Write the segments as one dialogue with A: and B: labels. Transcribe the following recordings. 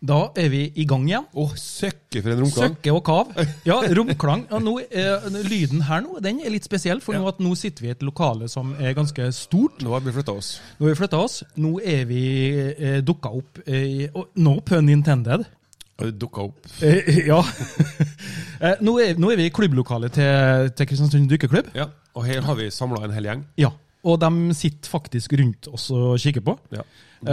A: Da er vi i gang igjen.
B: Å, søkke for en romklang.
A: Søkke og kav. Ja, romklang. Ja, nå, er- lyden her nå den er litt spesiell, for nå, at nå sitter vi i et lokale som er ganske stort.
B: Nå har vi flytta oss.
A: Nå har vi flytta oss. Nå er vi eh, dukka opp eh, og No pun intended.
B: Har du dukka opp?
A: Eh, ja. Eh, nå, er, nå er vi i klubblokalet til, til Kristiansund dykkerklubb.
B: Ja. Og her har vi samla en hel gjeng.
A: Ja. Og de sitter faktisk rundt oss og kikker på.
B: Ja.
A: Eh,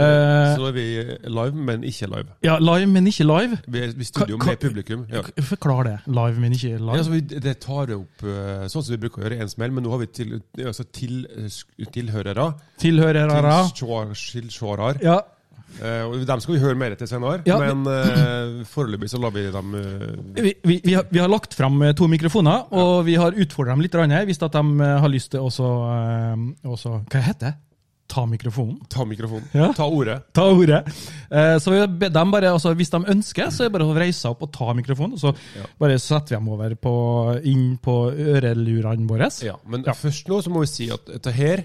B: Så nå er vi live, men ikke live.
A: ja, live, men ikke live.
B: Vi er i studio
A: Ka- ka-
B: med publikum. Ja.
A: Forklar det. Live, men ikke live.
B: Ja, altså, vi, det tar opp eh, sånn som vi bruker å gjøre i en smell, men nå har vi til, altså, til, eh, sk- tilhørere.
A: Tilhørere.
B: Tilsjåarar.
A: Ja,
B: Eh, Dem skal vi høre mer til senere,
A: Ja,
B: men eh, foreløpig så lar vi dem eh,
A: Vi, vi, vi, har, vi har lagt fram eh, to mikrofoner, og vi har utfordra dem litt, grann her, hvis at de eh, har lyst til også, eh, også Hva heter det? Ta mikrofonen?
B: ta mikrofonen.
A: Ja.
B: Ta ordet.
A: Ta ordet. Eh, Så vi har bedt dem bare, altså Hvis de ønsker, så er det bare å reise seg opp og ta mikrofonen. og Så bare setter vi dem over på, inn på ørelurene våre.
B: Ja, men først nå så må vi si at dette her,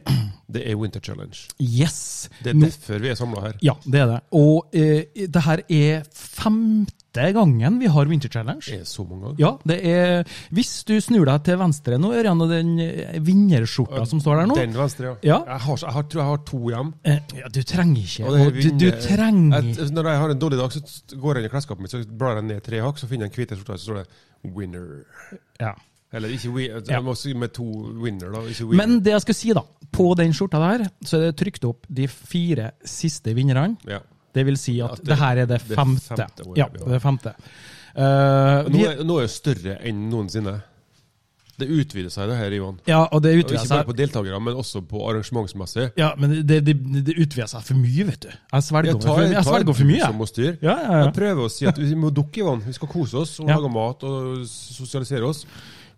B: det er Winter Challenge.
A: Yes!
B: Det er
A: Nå-
B: derfor vi er samla her.
A: ja, det er det. Og eh, det her er femte gangen vi har Winter Challenge.
B: Det er så mange ganger.
A: Ja, det er Hvis du snur deg til venstre nå, Ørjan, og den eh, vinnerskjorta som står der nå
B: Den venstre, ja.
A: Ja.
B: Jeg, har, jeg har, tror jeg har to hjem.
A: eh, ja, Du trenger ikke
B: Og det her
A: og du, du
B: vinner-
A: trenger
B: Jeg- Når jeg har en dårlig dag, så st- går jeg inn i klesskapet mitt, så blar jeg ned tre hakk, så finner jeg en hvit skjorte, så står det 'winner'.
A: ja.
B: Eller ikke wi- altså,
A: Ja.
B: Jeg må si med to 'winner', da. Ikke winner.
A: Men det jeg skal si, da. På den skjorta der så er det trykt opp de fire siste vinnerne.
B: ja.
A: Det vil si at
B: At det-
A: det her er det
B: det
A: femte.
B: femte året
A: ja,
B: vi har.
A: det er femte. Eh,
B: nå,
A: vi,
B: er, nå er det større enn noensinne. Det utvider seg, det her, Ivan.
A: ja, og det
B: Og
A: utvider
B: Ikke bare
A: seg.
B: på deltakere, men også på arrangementsmessig.
A: Ja, men det, det, det utvider seg for mye, vet du. Jeg svelger
B: Jeg
A: over for,
B: tar-
A: mye- jeg
B: tar
A: svelger for
B: du
A: mye.
B: Som må
A: jeg.
B: styre.
A: Ja, ja, ja.
B: Jeg prøver å si at vi må dukke, Ivan. Vi skal kose oss og
A: Ja.
B: lage mat og sosialisere oss.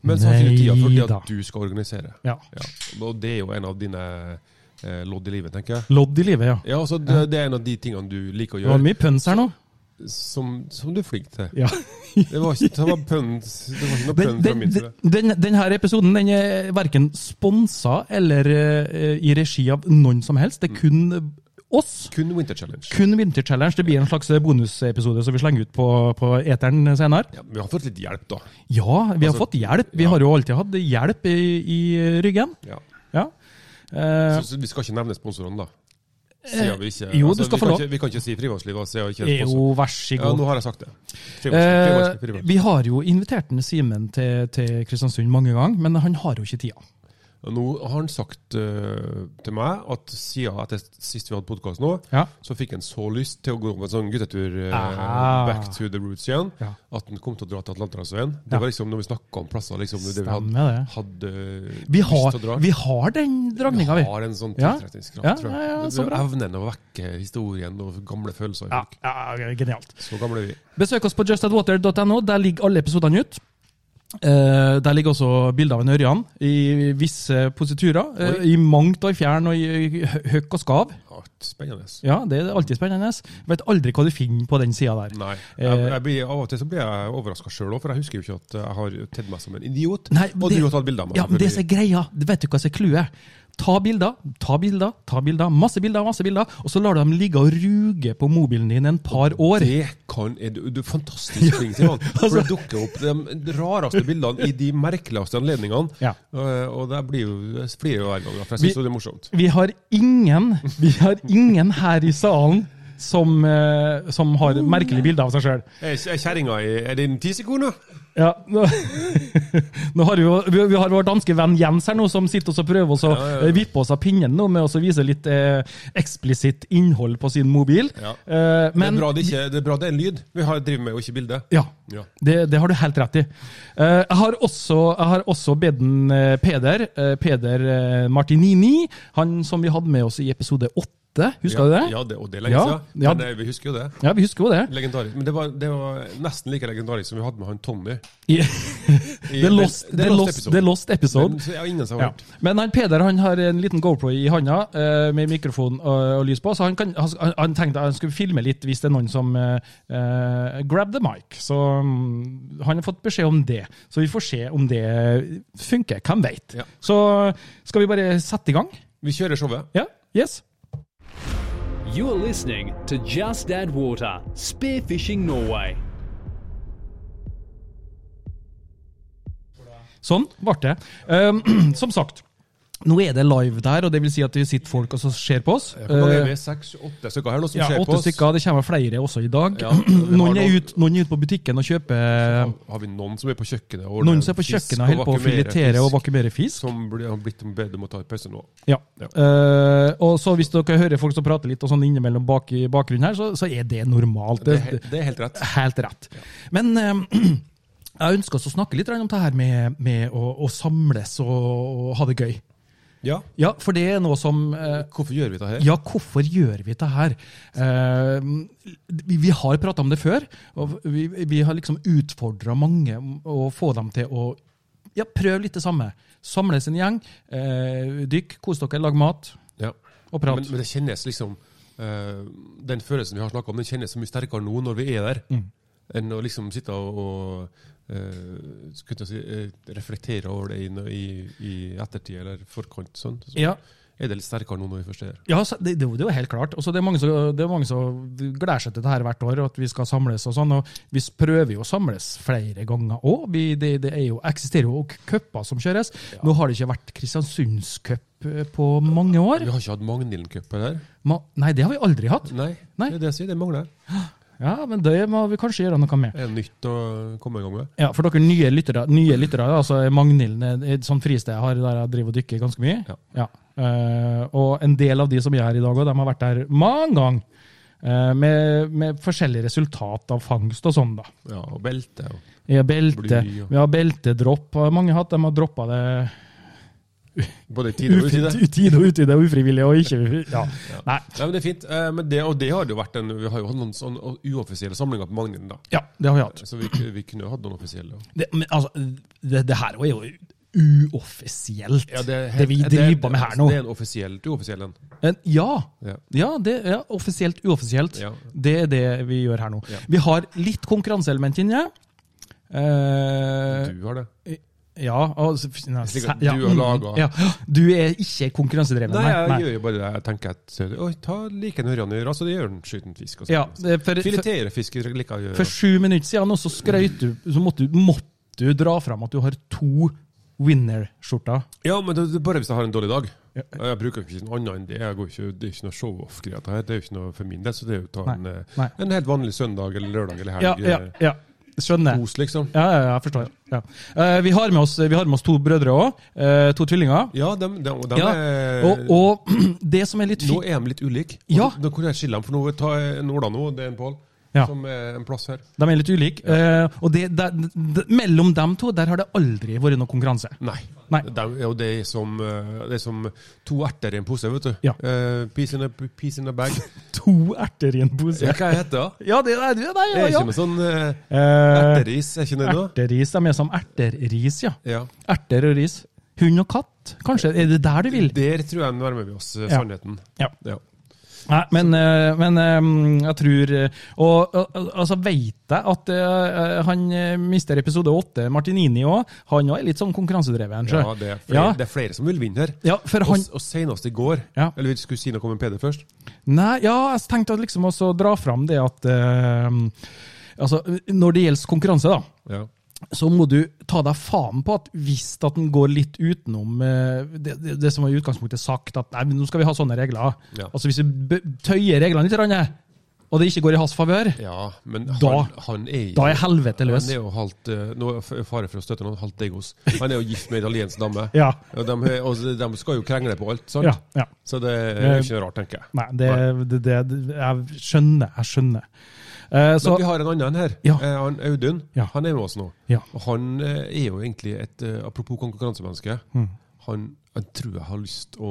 B: Men
A: Nei
B: samtidig tida fordi
A: da.
B: at du skal organisere.
A: Ja.
B: Ja. Og det er jo en av dine eh, lodd i livet, tenker jeg.
A: Lodd i livet, ja.
B: Ja, altså, det, det er en av de tingene du liker å
A: Det var
B: gjøre,
A: mye pøns her nå.
B: som, som du er flink til.
A: Ja.
B: Det var ikke, det var pønn, det var ikke
A: Den,
B: noe pønn fra
A: den,
B: min side.
A: den, den her episoden den er verken sponsa eller eh, i regi av noen som helst. Det er kun oss.
B: Kun Winter Challenge.
A: Kun Winter Challenge. Det blir en slags bonusepisode som vi slenger ut på, på eteren senere.
B: Ja, men vi har fått litt hjelp, da.
A: Ja, vi har
B: Altså,
A: fått hjelp. Vi
B: ja.
A: har jo alltid hatt hjelp i, i ryggen.
B: Ja.
A: Ja. Eh,
B: Så, så vi skal ikke nevne sponsorene, da. Siden vi ikke, altså,
A: Eh, jo, du skal få
B: vi kan
A: lov.
B: Ikke, vi kan ikke si frivannslivet, altså, siden vi ikke er sponsor.
A: jo, vær så
B: Ja,
A: god.
B: nå har jeg sagt det.
A: Eh,
B: Frivannsliv, frivannsliv,
A: vi har jo invitert en Simen til, til Kristiansund mange ganger, men han har jo ikke tida.
B: frivannsliv. Nå har han sagt eh, til meg at siden etter sist vi hadde podkast nå,
A: Ja.
B: så fikk han så lyst til å gå på en sånn guttetur eh,
A: Ah.
B: back to the roots igjen,
A: Ja.
B: at han kom til å dra til Atlanterhavsveien.
A: Ja.
B: Det var liksom når vi snakka om plasser liksom, det vi hadde,
A: Stemmer det.
B: hadde
A: Vi
B: lyst
A: har,
B: til å dra.
A: vi har den dragninga, vi.
B: Vi har en sånn
A: Ja.
B: tiltrekningskraft,
A: Ja,
B: tror jeg.
A: ja, ja, så
B: Det-
A: bra.
B: Evnen å vekke historien og gamle følelser. i
A: Ja,
B: folk.
A: ja, genialt.
B: Så gamle er vi.
A: Besøk oss på justadwater.no. Der ligger alle episodene ut. Eh, der ligger også bilder av en ørjan i visse positurer. eh, I mangt og i fjern og i i hø- høkk og skav.
B: Ja, spennende.
A: Ja, Det er alltid spennende. Vet aldri hva du finner på den sida der.
B: Nei. Jeg,
A: Eh,
B: jeg blir, av og til så blir jeg overraska sjøl òg, for jeg husker jo ikke at jeg har tedd meg som en idiot.
A: Nei,
B: og
A: det-
B: du har tatt bilde av meg.
A: Ja, men det som er
B: selvfølgelig.
A: greia, vet du hva som er clouet? Ta bilder, ta bilder, ta bilder. Masse bilder, masse bilder. Og så lar du dem ligge og ruge på mobilen din en par år.
B: det kan er du, du er fantastisk flink, Simon.
A: Altså-
B: For det dukker opp de rareste bildene i de merkeligste anledningene.
A: Ja.
B: Eh, og det blir jo, jeg flirer jo hver gang, for jeg syns
A: Vi-
B: jo det er morsomt.
A: Vi har ingen, vi har ingen her i salen som, eh, som har merkelige bilder av seg sjøl.
B: Er er kjerringa i Er det en tisekone?
A: Ja, nå, nå har vi, jo- vi, vi har vår danske venn Jens her nå, som sitter oss og prøver oss å
B: Ja, ja, ja.
A: eh, vippe oss av pinnen nå med oss å vise litt eh, eksplisitt innhold på sin mobil.
B: Ja.
A: Eh, men
B: det, er bra det, ikke, det er bra det er en lyd. Vi har driver med og ikke bilde.
A: ja,
B: Ja.
A: det, det har du helt rett i. Eh, jeg, har også, jeg har også bedt en, eh, Peder, eh, Peder eh, Martinini, han som vi hadde med oss i episode åtte Mette, husker du det?
B: Ja, det, og det er lenge
A: Ja,
B: siden.
A: ja.
B: Men eh, vi husker jo det.
A: Ja, vi husker jo det.
B: Legendarisk. Men det var, det var nesten like legendarisk som vi hadde med han Tommy.
A: I-
B: I
A: The Lost,
B: det
A: the lost, the lost Episode.
B: Men, så, ja, ingen som har
A: Ja.
B: hørt.
A: Men han Peder han har en liten GoPro i handa eh, med mikrofon og, og lys på, så han, kan, han, han tenkte han skulle filme litt hvis det er noen som eh, eh, Grab the mic. Så mm, han har fått beskjed om det. Så vi får se om det funker. Hvem veit.
B: Ja.
A: Så skal vi bare sette i gang?
B: Vi kjører showet.
A: Ja? Yes?
C: You are listening to Just Add Water Spearfishing Norway.
A: Sånn ble det. Ehm, som sagt, nå er det live der, og det vil si at det sitter folk og så ser på oss.
B: Hvor mange
A: Eh,
B: er vi? Seks-åtte stykker her nå som
A: ja,
B: ser på
A: åtte
B: oss?
A: stykker. Det kommer flere også i dag.
B: Ja, vi har
A: noen, er
B: noen-
A: ut, noen er ute på butikken og kjøper eh,
B: Har vi noen som er på kjøkkenet? og
A: Noen
B: ordner
A: som er på
B: fisk
A: kjøkkenet og holder på å
B: vakuumerer
A: filetere og
B: fisk,
A: vakumere fisk.
B: Som blir, har blitt bedt om å ta en pause nå.
A: Ja.
B: Ja.
A: Eh, og så hvis dere hører folk som prater litt og sånn innimellom bak i bakgrunnen her, så, så er det normalt. Det,
B: Det, er he- det er helt rett.
A: det er helt rett. Men eh, jeg ønsker oss å snakke litt om det her med, med å, å samles og, og ha det gøy.
B: Ja.
A: Ja, for det er noe som eh,
B: Hvorfor gjør vi det her?
A: Ja, hvorfor gjør vi det her? Eh, vi, vi har prata om det før, og vi, vi har liksom utfordra mange om å få dem til å ja, prøve litt det samme. Samles en gjeng, eh, dykk, kos dere, lag mat
B: Ja.
A: og
B: Men,
A: prat.
B: men det kjennes liksom eh, Den følelsen vi har snakka om, den kjennes så mye sterkere nå når vi er der,
A: Mm.
B: enn å liksom sitte og, og eh, skulle jeg til å si, eh, reflektere over det i, no- i, i ettertid eller forkant. Sånn. Så
A: Ja,
B: er det litt sterkere nå når vi først er der.
A: ja så det, det, er jo- det er jo helt klart. Og så det er mange som, det er mange som gleder seg til det her hvert år, og at vi skal samles og sånn. Og vi prøver jo å samles flere ganger òg. Det, det er jo, eksisterer jo også cuper som kjøres. Nå har det ikke vært Kristiansundscup eh, på mange år.
B: Vi har ikke hatt Magnhilden Cup her?
A: Ma nei, det har vi aldri hatt.
B: Nei,
A: Nei.
B: det er det jeg sier. Det mangler.
A: Ja, men det må vi kanskje gjøre noe med.
B: Er det nytt å komme i gang med?
A: Ja, For dere nye lyttere, nye lyttere altså Magnhilden er et sånt fristed jeg har der jeg driver og dykker ganske mye.
B: Ja.
A: Eh, og en del av de som er her i dag, og de har vært der mange ganger. eh, med, med forskjellig resultat av fangst og sånn, da.
B: Ja, og belte og
A: Vi har belte,
B: Bly, ja.
A: vi har beltedropp. har Mange hatt, de har droppa det
B: Både i tide og utide.
A: utide, utide og utide, ufrivillig og ikke ja. Nei.
B: Nei, men det er fint. Eh, Men det, og det har det jo vært en, vi har jo hatt noen sånne uoffisielle samlinger på Magnhilden, da.
A: ja, det har vi hatt.
B: Så vi, vi kunne jo hatt noen offisielle.
A: Det, men altså, det, det her er jo uoffisielt, det, vi driver på med her nå.
B: Det er en offisielt uoffisiell en.
A: En- ja,
B: Ja.
A: ja, det er offisielt uoffisielt.
B: Ja.
A: Det er det vi gjør her nå.
B: Ja.
A: Vi har litt konkurranseelement inni. Eh,
B: Du har det.
A: ja, altså, f- nei,
B: Slik
A: se-
B: at
A: ja,
B: du har laget-
A: mm, ja. Du er ikke konkurransedreven,
B: Nei, jeg
A: nei.
B: gjør jo bare det. Jeg tenker at Oi, ta like en ørjan i øret, så det gjør den skyten fisk. og sånn.
A: Ja, det er for, for,
B: Filetere fisk i like å gjøre.
A: for sju minutter siden nå så skrøt du, så måtte du, måtte du dra fram at du har to winner-skjorter.
B: Ja, men det, det er bare hvis jeg har en dårlig dag. Jeg bruker jo ikke noe annet enn det. Jeg går ikke, det er ikke noe show-off-greie. Det her. Det er jo ikke noe for min del. Så det er jo å ta en,
A: Nei,
B: eh,
A: nei.
B: en helt vanlig søndag eller lørdag eller
A: Ja,
B: helg.
A: ja,
B: eh,
A: ja. Skjønner.
B: Kos, liksom.
A: Ja, ja, ja, jeg forstår. Ja. Eh, vi, har med oss, vi har med oss to brødre òg. to tvillinger.
B: Ja, dem, dem, dem
A: Ja,
B: er
A: Og, og det som er litt
B: Nå
A: fint
B: er de litt ulike.
A: Ja.
B: Da kunne jeg skille dem, for nå tar jeg en Ola nå, og det er en Pål,
A: Ja.
B: som er en plass her.
A: De er litt ulike. eh, og det, der- d- mellom dem to der har det aldri vært noe konkurranse.
B: Nei.
A: Nei.
B: Det er jo det er som, eh, det er som to erter i en pose, vet du.
A: Ja.
B: Eh, piece, in a, piece in a bag.
A: To erter i en pose.
B: Ja, hva heter det? da?
A: Ja, det er det. Nei, ja,
B: Det er
A: ja.
B: ikke noe sånn eh,
A: Eh,
B: erteris, er ikke det noe?
A: erteris. De er som erterris, ja.
B: Ja.
A: Erter og ris. Hund og katt, kanskje? Er det der du vil?
B: Der tror jeg nærmer vi oss eh,
A: Ja.
B: sannheten.
A: Ja.
B: Ja.
A: Nei, men, eh, men eh, jeg tror eh, Og og- og- altså veit jeg at eh, han eh, mister episode åtte, Martinini òg. Han òg er litt sånn konkurransedreven. sjø.
B: Ja, det, er flere,
A: Ja.
B: det er flere som vil vinne her.
A: Ja, for han
B: Og, og senest i går
A: Ja.
B: Eller vi skulle si noe om en Peder først.
A: Nei, ja, jeg tenkte at liksom også å dra fram det at eh, Altså, når det gjelder konkurranse, da.
B: Ja.
A: så må du ta deg faen på at hvis at den går litt utenom eh, det, det, det som var i utgangspunktet sagt, at nei, men nå skal vi ha sånne regler.
B: Ja.
A: Altså Hvis vi bø- tøyer reglene litt, grann, og det ikke går i hans favør,
B: ja, men
A: Da-
B: han, han er jo
A: da er helvete løs.
B: Han er jo halvt eh, Nå er jeg f- fare for å støtte noen halvt egos. Han er jo gift med en italiensk dame.
A: Ja.
B: Og de, har- og de skal jo krangle på alt, sant?
A: Ja, Eh, ja.
B: Så det er jo ikke noe rart, tenker jeg.
A: Nei, det, det, det, jeg skjønner. Jeg skjønner. Eh, så,
B: Men vi har en annen her.
A: Ja.
B: Eh, Han Audun
A: Ja.
B: han er med oss nå.
A: Ja.
B: Og han eh, er
A: Mm.
B: jo egentlig et eh, Apropos konkurransemenneske. Han, han tror jeg har lyst å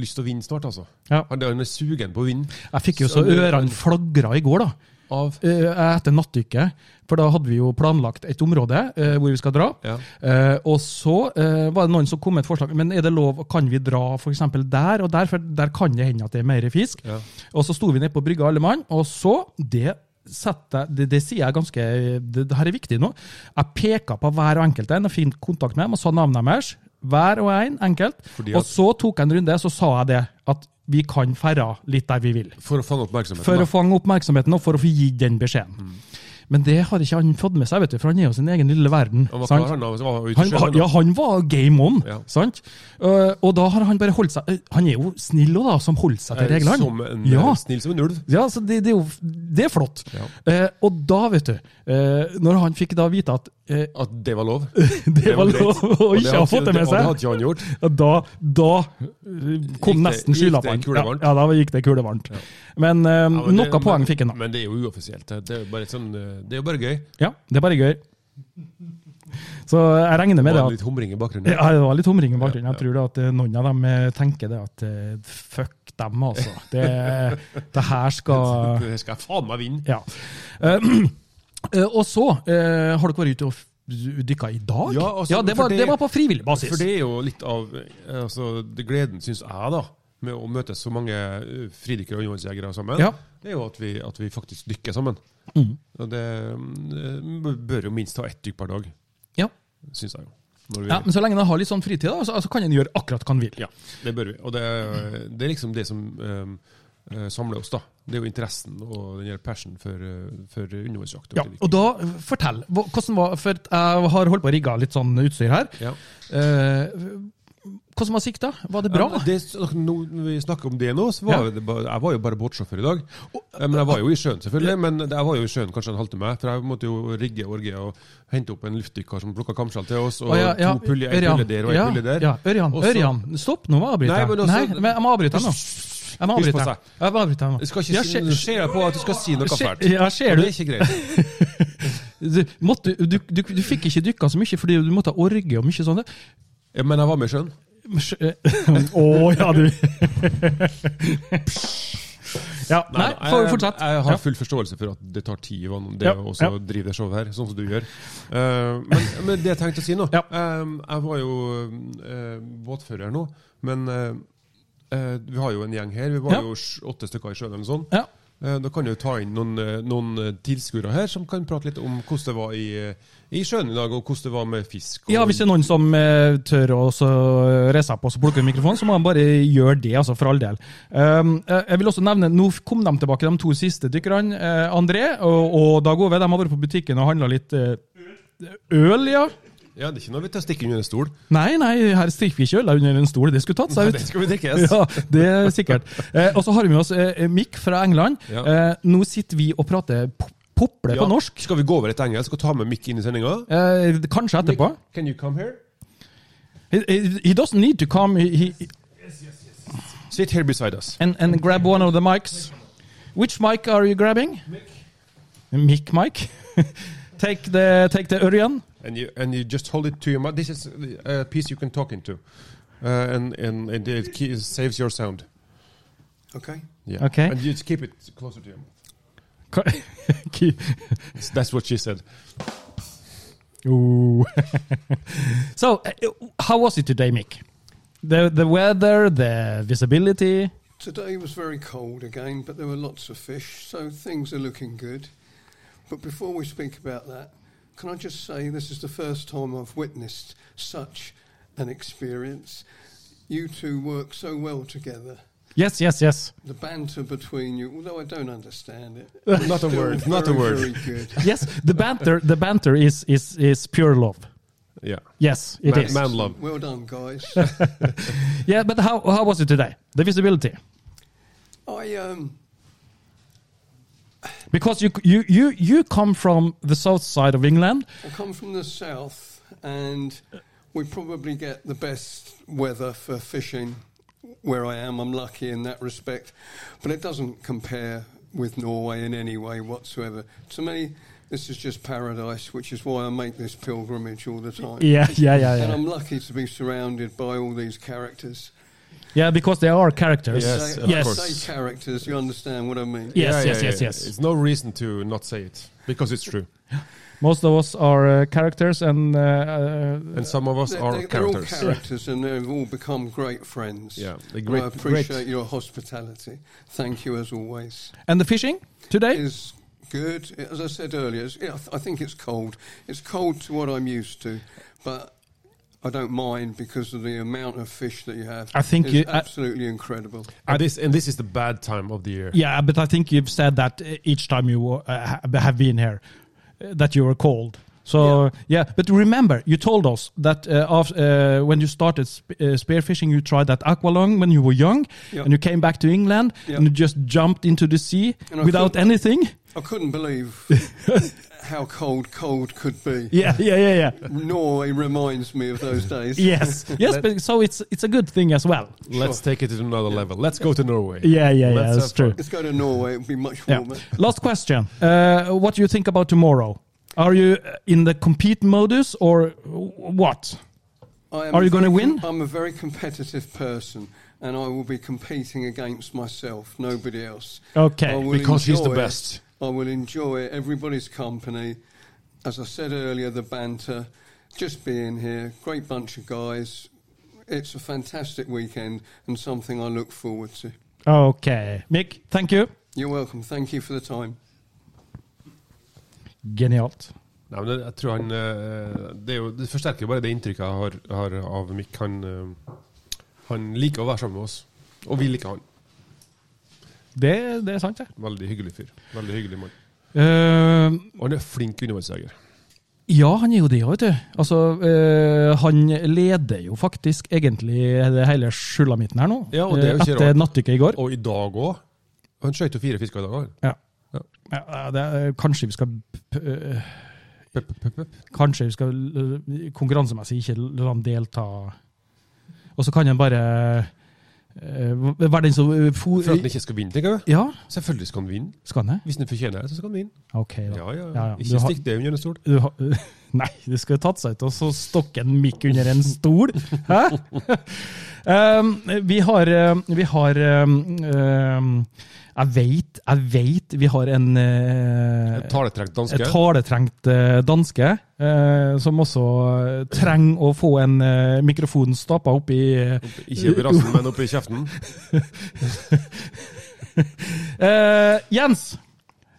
B: lyst til å vinne snart, altså.
A: Ja.
B: Han, han er sugen på å vinne.
A: Jeg fikk jo så ørene flagra i går, da.
B: Av
A: Eh, Etter nattdykket. For da hadde vi jo planlagt et område eh, hvor vi skal dra.
B: Ja.
A: Eh, og så eh, var det noen som kom med et forslag. Men er det lov, kan vi dra for eksempel der og der? For der kan det hende at det er mer fisk.
B: Ja.
A: Og så sto vi nede på brygga alle mann, og så det setter jeg- det, det sier jeg ganske det, det her er viktig nå. Jeg peker på hver og enkelt en og finner kontakt med dem og sa navnet deres. Hver og en enkelt.
B: Fordi
A: Og
B: at-
A: så tok jeg en runde, så sa jeg det. At vi kan ferde litt der vi vil.
B: For å fange oppmerksomheten.
A: For
B: da.
A: å fange oppmerksomheten og for å få gitt den beskjeden.
B: Mm.
A: Men det har ikke han fått med seg, vet du, for han er jo sin egen lille verden.
B: han var
A: sant?
B: klar, han, da, så var han ute
A: Han,
B: i sjøen,
A: var- ja, han var game on,
B: Ja.
A: sant? Eh, og da har han bare holdt seg eh, Han er jo snill òg, da, som holder seg
B: da.
A: til reglene.
B: Eh, Som en,
A: ja.
B: Snill som en ulv.
A: Ja, så det, det er jo det er flott.
B: Ja.
A: Eh, og da, vet du, eh, når han fikk da vite at eh,
B: At det var lov.
A: det var
B: greit.
A: lov å
B: Og
A: ikke ha
B: hadde-
A: fått det med
B: Og det
A: seg,
B: hadde ikke han gjort.
A: da, da eh, kom
B: Gikk
A: nesten
B: det- gikk det
A: skylappene. Ja,
B: kulevarmt?
A: ja, da gikk det kulevarmt. Men eh,
B: Ja, men det-
A: noe poeng fikk han da.
B: Men det er jo uoffisielt. Det er jo bare, sånn, eh, det er jo bare gøy.
A: Ja, det er bare gøy. Så jeg regner med
B: Med
A: det. at
B: litt humring i bakgrunnen.
A: Ja, det var litt humring i bakgrunnen. Jeg tror det at eh, noen av dem eh, tenker det at eh, fuck dem, altså. Det, det her skal
B: Det skal jeg faen meg vinne!
A: Ja. Eh, eh, og så eh, har dere vært ute og f- dykka i dag?
B: Ja, altså,
A: det,
B: for
A: var,
B: det-
A: det, var på frivillig basis.
B: For det er jo litt av eh, altså, det gleden, syns jeg, da, med å møte så mange eh, fridykkere og undervannsjegere sammen,
A: Ja.
B: det er jo at vi, at vi faktisk dykker sammen. Og det mm, eh, bør jo minst ha ett dykk per dag,
A: ja.
B: syns jeg jo. Når vi,
A: ja, Men så lenge en har litt sånn fritid, da, så altså, kan en gjøre akkurat hva en vil.
B: Ja, det bør vi. Og det, er- det er liksom det som eh, eh, samler oss, da. Det er jo interessen og den her passion for, eh, for undervannsjakt.
A: Ja, og da, eh, fortell. Hva- Hvordan var, for jeg har holdt på å rigge litt sånn utstyr her.
B: Ja.
A: Eh, hvordan var sikta? Var det bra?
B: Ja, det, altså, nå- når vi snakker om det nå, så var
A: Ja.
B: det bare, jeg var jo bare båtsjåfør i dag. Eh, Men jeg var jo i sjøen, selvfølgelig. Men jeg var jo i sjøen kanskje en halvtime. For jeg måtte jo rigge og orge og hente opp en luftdykker som plukka kamskjell til oss. Og
A: Å, ja, ja.
B: to puljer, en
A: Ørjan.
B: pulje der og en
A: ja,
B: pulje der.
A: Ja, Ørjan,
B: Og så-
A: Ørjan, stopp, nå må jeg avbryte.
B: Nei, men
A: Nei,
B: også-
A: men jeg må avbryte nå. Jeg må
B: Hysj på
A: avbryte.
B: seg.
A: Jeg må avbryte nå.
B: Jeg skal
A: Ja,
B: ikke si,
A: skje-
B: nå ser jeg på at du skal si noe
A: skje-
B: fælt.
A: Ja,
B: Og
A: ser
B: det
A: du.
B: er ikke greit.
A: Du, måtte, du, du, du fikk ikke dykka så mye fordi du måtte ha orge og mye sånt.
B: Ja, Men jeg var med i sjøen.
A: Men eh, skj- Å ja, du. Ja, nei,
B: da, eh,
A: for,
B: jeg-
A: fortsett.
B: Jeg har
A: Ja.
B: full forståelse for at det tar tid å det
A: Ja,
B: å
A: ja.
B: også drive det showet her, sånn som du gjør. Eh, men, men det jeg tenkte å si nå
A: Ja.
B: eh, Jeg var jo eh, båtfører nå, men eh, eh, vi har jo en gjeng her. Vi var
A: Ja.
B: jo sj- åtte stykker i sjøen eller noe sånt.
A: Ja.
B: Eh, Da kan du ta inn noen, eh, noen eh, tilskuere her som kan prate litt om hvordan det var i, eh, i sjøen i dag, og hvordan det var med fisk. Og
A: Ja, hvis det er noen som eh, tør å så eh, reise seg på og plukke en mikrofon, så må de bare gjøre det, altså, for all del. Um, eh, jeg vil også nevne, Nå kom de tilbake, de to siste dykkerne. eh, André og, og Dag Ove. De har vært på butikken og handla litt eh, øl, ja.
B: ja, det er ikke noe vi tar stikke under en stol.
A: Nei, nei, her stikker vi ikke øl under en stol. Det skulle tatt seg
B: Det
A: ut.
B: skal vi drikkes.
A: Ja, det er sikkert. Eh, og så har vi med oss eh, Mick fra England.
B: Ja.
A: Eh, nå sitter vi og prater pop- pople
B: Ja.
A: på norsk.
B: Skal vi gå over et engelsk og ta med Mikk inn i sendinga?
A: Eh, kanskje etterpå.
B: Can you come here?
A: He, he- he doesn't need to come. He, he,
B: Sit here beside us.
A: and, and grab one of the mics. Which mic are you grabbing? Mic mic. take the take the Urian.
B: and you and you just hold it to your mouth. This is a piece you can talk into, uh, and and, and it ke- saves your sound.
D: Okay.
B: Yeah.
A: Okay.
B: And you just keep it closer to your mouth. That's- That's what she said.
A: Ooh. so, uh, how was it today, Mick? The the weather, the visibility.
D: Today was very cold again, but there were lots of fish, so things are looking good. But before we speak about that, can I just say this is the first time I've witnessed such an experience. You two work so well together.
A: Yes, yes, yes,
D: The banter between you, although I don't understand it,
B: not a
D: still
B: word. Not a
D: very,
B: word.
D: Very good.
A: yes. The banter, the banter is is is pure love.
B: Yeah.
A: Yes, it
B: man,
A: is.
B: man love.
D: Well done, guys.
A: Yeah, but how how was it today? The visibility.
D: I um,
A: Because you you you you come from the south side of England.
D: I come from the south, and we probably get the best weather for fishing where I am. I'm lucky in that respect, but it doesn't compare with Norway in any way whatsoever. To me, this is just paradise, which is why I make this pilgrimage all the time.
A: Yeah, yeah, yeah,
D: And
A: yeah.
D: I'm lucky to be surrounded by all these characters.
A: Yeah, because they are characters.
B: Yes,
D: Say-
B: of
D: I
A: yes.
B: course.
D: Say characters, you understand what I mean?
A: Yes, yes, yes, yes.
B: It's no reason to not say it because it's true,
A: Most of us are uh, characters, and uh, uh,
B: and some of us
D: They're,
B: are
D: they're- they're all
B: characters.
D: characters and they've all become great friends.
B: Yeah, they're
D: And
B: great-
D: I appreciate
B: great.
D: your hospitality. Thank you as always.
A: and the fishing today.
D: Is good. As I said earlier, it's, yeah, I th- I think it's cold. It's cold to what I'm used to, but I don't mind because of the amount of fish that you have.
A: I think
D: is
A: you- uh, I-
D: absolutely incredible.
B: And this and this is the bad time of the year.
A: Yeah, but I think you've said that uh, each time you wa- uh, ha- have been here, uh, that you were cold. So yeah, but remember, you told us that uh, af- uh, when you started sp- uh, spearfishing, you tried that aqualung when you were young,
D: Yeah.
A: and you came back to England
D: Yeah.
A: and you just jumped into the sea
D: And I
A: without
D: couldn't-
A: anything.
D: I couldn't believe how cold cold could be.
A: Yeah, yeah, yeah, yeah.
D: Norway reminds me of those days.
A: yes, yes.
B: Let-
A: But so it's it's a good thing as well.
B: Let's take it to another level. Let's go to Norway.
A: Yeah, yeah, yeah,
B: Let's
A: that's
B: have
A: true.
B: fun.
D: Let's go to Norway. It would be much
A: Yeah.
D: warmer.
A: Last question. Uh, what do you think about tomorrow? Are you uh, in the compete modus or what?
D: I am
A: Are
D: a
A: you gonna
D: very
A: win?
D: com- I'm a very competitive person, and I will be competing against myself, nobody else.
A: Okay,
D: I will
B: because he's the
D: enjoy it.
B: best.
D: I will enjoy everybody's company. As I said earlier, the banter, just being here, great bunch of guys. It's a fantastic weekend and something I look forward to.
A: Okay. Mick, thank you.
D: You're welcome. Thank you for the time.
A: Genialt.
B: Nei, men jeg tror han eh, det, er jo, det forsterker jo bare det inntrykket jeg har, har av Mick. Han, eh, han liker å være sammen med oss, og vi liker han.
A: Det, det er sant, det.
B: Veldig hyggelig fyr. Veldig hyggelig mann.
A: Eh,
B: Og han er flink undervannsjeger.
A: ja, han er jo det, vet du. Altså, eh, han leder jo faktisk egentlig det hele sulamitten her nå.
B: Ja, og det er jo
A: Eh,
B: ikke
A: Etter
B: rart.
A: nattdykket i går.
B: Og i dag òg. Han skøyt jo fire fisker i dag òg.
A: Ja.
B: Ja.
A: Ja, det er, kanskje vi skal p- eh, Kanskje vi skal eh, konkurransemessig ikke la han delta. Og så kan han bare eh, være den som for,
B: For at han ikke skal vinne, tenker jeg.
A: Ja,
B: Selvfølgelig skal han vinne.
A: skal han det?
B: Hvis han fortjener det, så skal han vinne.
A: OK, da.
B: Ja, ja.
A: Ja, ja. Du
B: Ikke
A: har-
B: stikk det under en stol.
A: du har, Nei, du skulle tatt seg ut og så stokke en mikk under en stol. Hæ? Um, vi har, um, vi har um, um, Jeg veit, jeg veit vi har en uh,
B: Taletrekk danske.
A: et taletrengt eh, danske, eh, som også eh, trenger å få en eh, mikrofon stappa opp i eh,
B: Ikke oppi rassen, men oppi kjeften.
A: eh, Jens!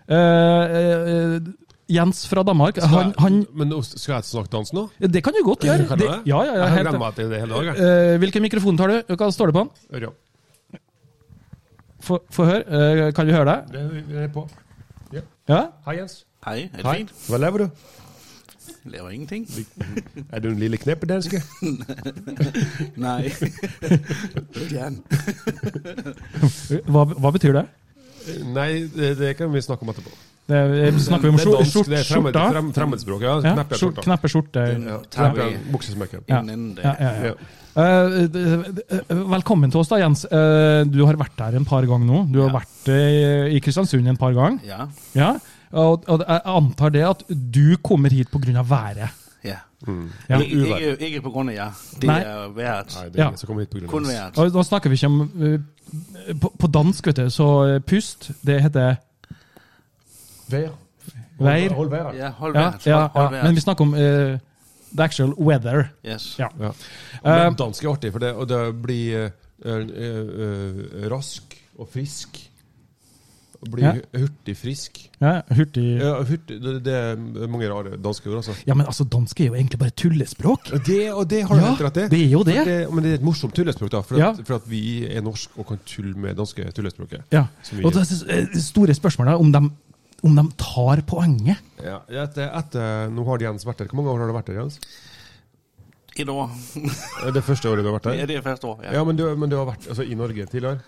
A: Eh, eh, Jens fra Danmark. Han, han,
B: Men skal jeg snakke dans nå?
A: det kan du godt gjøre.
B: Kan
A: Det,
B: jeg det?
A: ja, ja, ja,
B: jeg har
A: helt-
B: glemt meg til det hele dagen.
A: Eh, hvilken mikrofon tar du? Hva står det på den?
B: Ørjan.
A: Få få høre. Eh, kan vi høre deg?
B: Det er- det er på.
A: Ja?
B: Hei, Jens.
E: Hei, er det fint?
B: Hva lever du?
E: Laver ingenting.
B: Er du en lille kneppedanske?
E: Nei. Gjerne.
A: Hva, hva betyr det?
B: Nei, det, det kan vi snakke om etterpå.
A: det er- snakker vi om
B: Det er
A: skjor-
B: dansk,
A: skjort,
B: det er fremmed,
A: skjorta?
B: frem, fremmedspråk. Ja,
A: Ja, skjort,
B: kneppe skjorta.
A: kneppe skjorte.
E: Ja, tar vi
B: Kneppe buksesmekken.
A: Ja.
E: innen det.
A: Ja, ja, ja.
B: Ja.
A: Eh, d- d- velkommen til oss, da, Jens. Eh, du har vært her en par ganger nå. Du har
E: Ja.
A: vært eh, i Kristiansund en par ganger.
E: Ja.
A: Ja. Og, og jeg antar det at du kommer hit pga. været.
E: ja.
A: Ja.
E: Ik- Ikke, ikke på grunn av ja. Det
A: Nei.
E: er vært.
B: Mm. Nei, det er
A: Ja.
B: ingen som kommer hit på grunn av
E: Kun
B: oss.
E: vært.
A: Og da snakker vi ikke om eh, på, på dansk, vet du, så eh, pust, det heter
B: Vær.
A: Vær.
B: Hold været.
E: Ja, hold
A: Ja,
E: vært.
A: ja, ja.
E: Hold
A: Men vi
E: vært.
A: snakker om eh, the actual weather.
E: Yes.
A: Ja.
B: Ja.
A: Eh,
B: Men dansk er artig, for det, og det blir eh, eh, eh, rask og frisk. Og Blir
A: Ja.
B: hu- hurtig frisk.
A: ja, hurtig
B: Ja, hurtig, det, det er mange rare danske ord, altså.
A: Ja, men altså, dansk er jo egentlig bare tullespråk.
B: Og det, og det har du
A: Ja,
B: helt rett i.
A: det er jo det.
B: For men det er et morsomt tullespråk, da. For at,
A: Ja.
B: for at vi er norsk og kan tulle med danske tullespråket.
A: Ja.
B: Som vi-
A: Og det er det eh, store spørsmålet er om de, om de tar poenget.
B: Ja, etter, etter, nå har Jens vært her. Hvor mange år har du vært her, Jens?
E: Et år.
B: Det første året du har vært
E: Ja,
B: her?
E: det er første år. Ja.
B: Ja, men du, men du har vært altså, i Norge tidligere.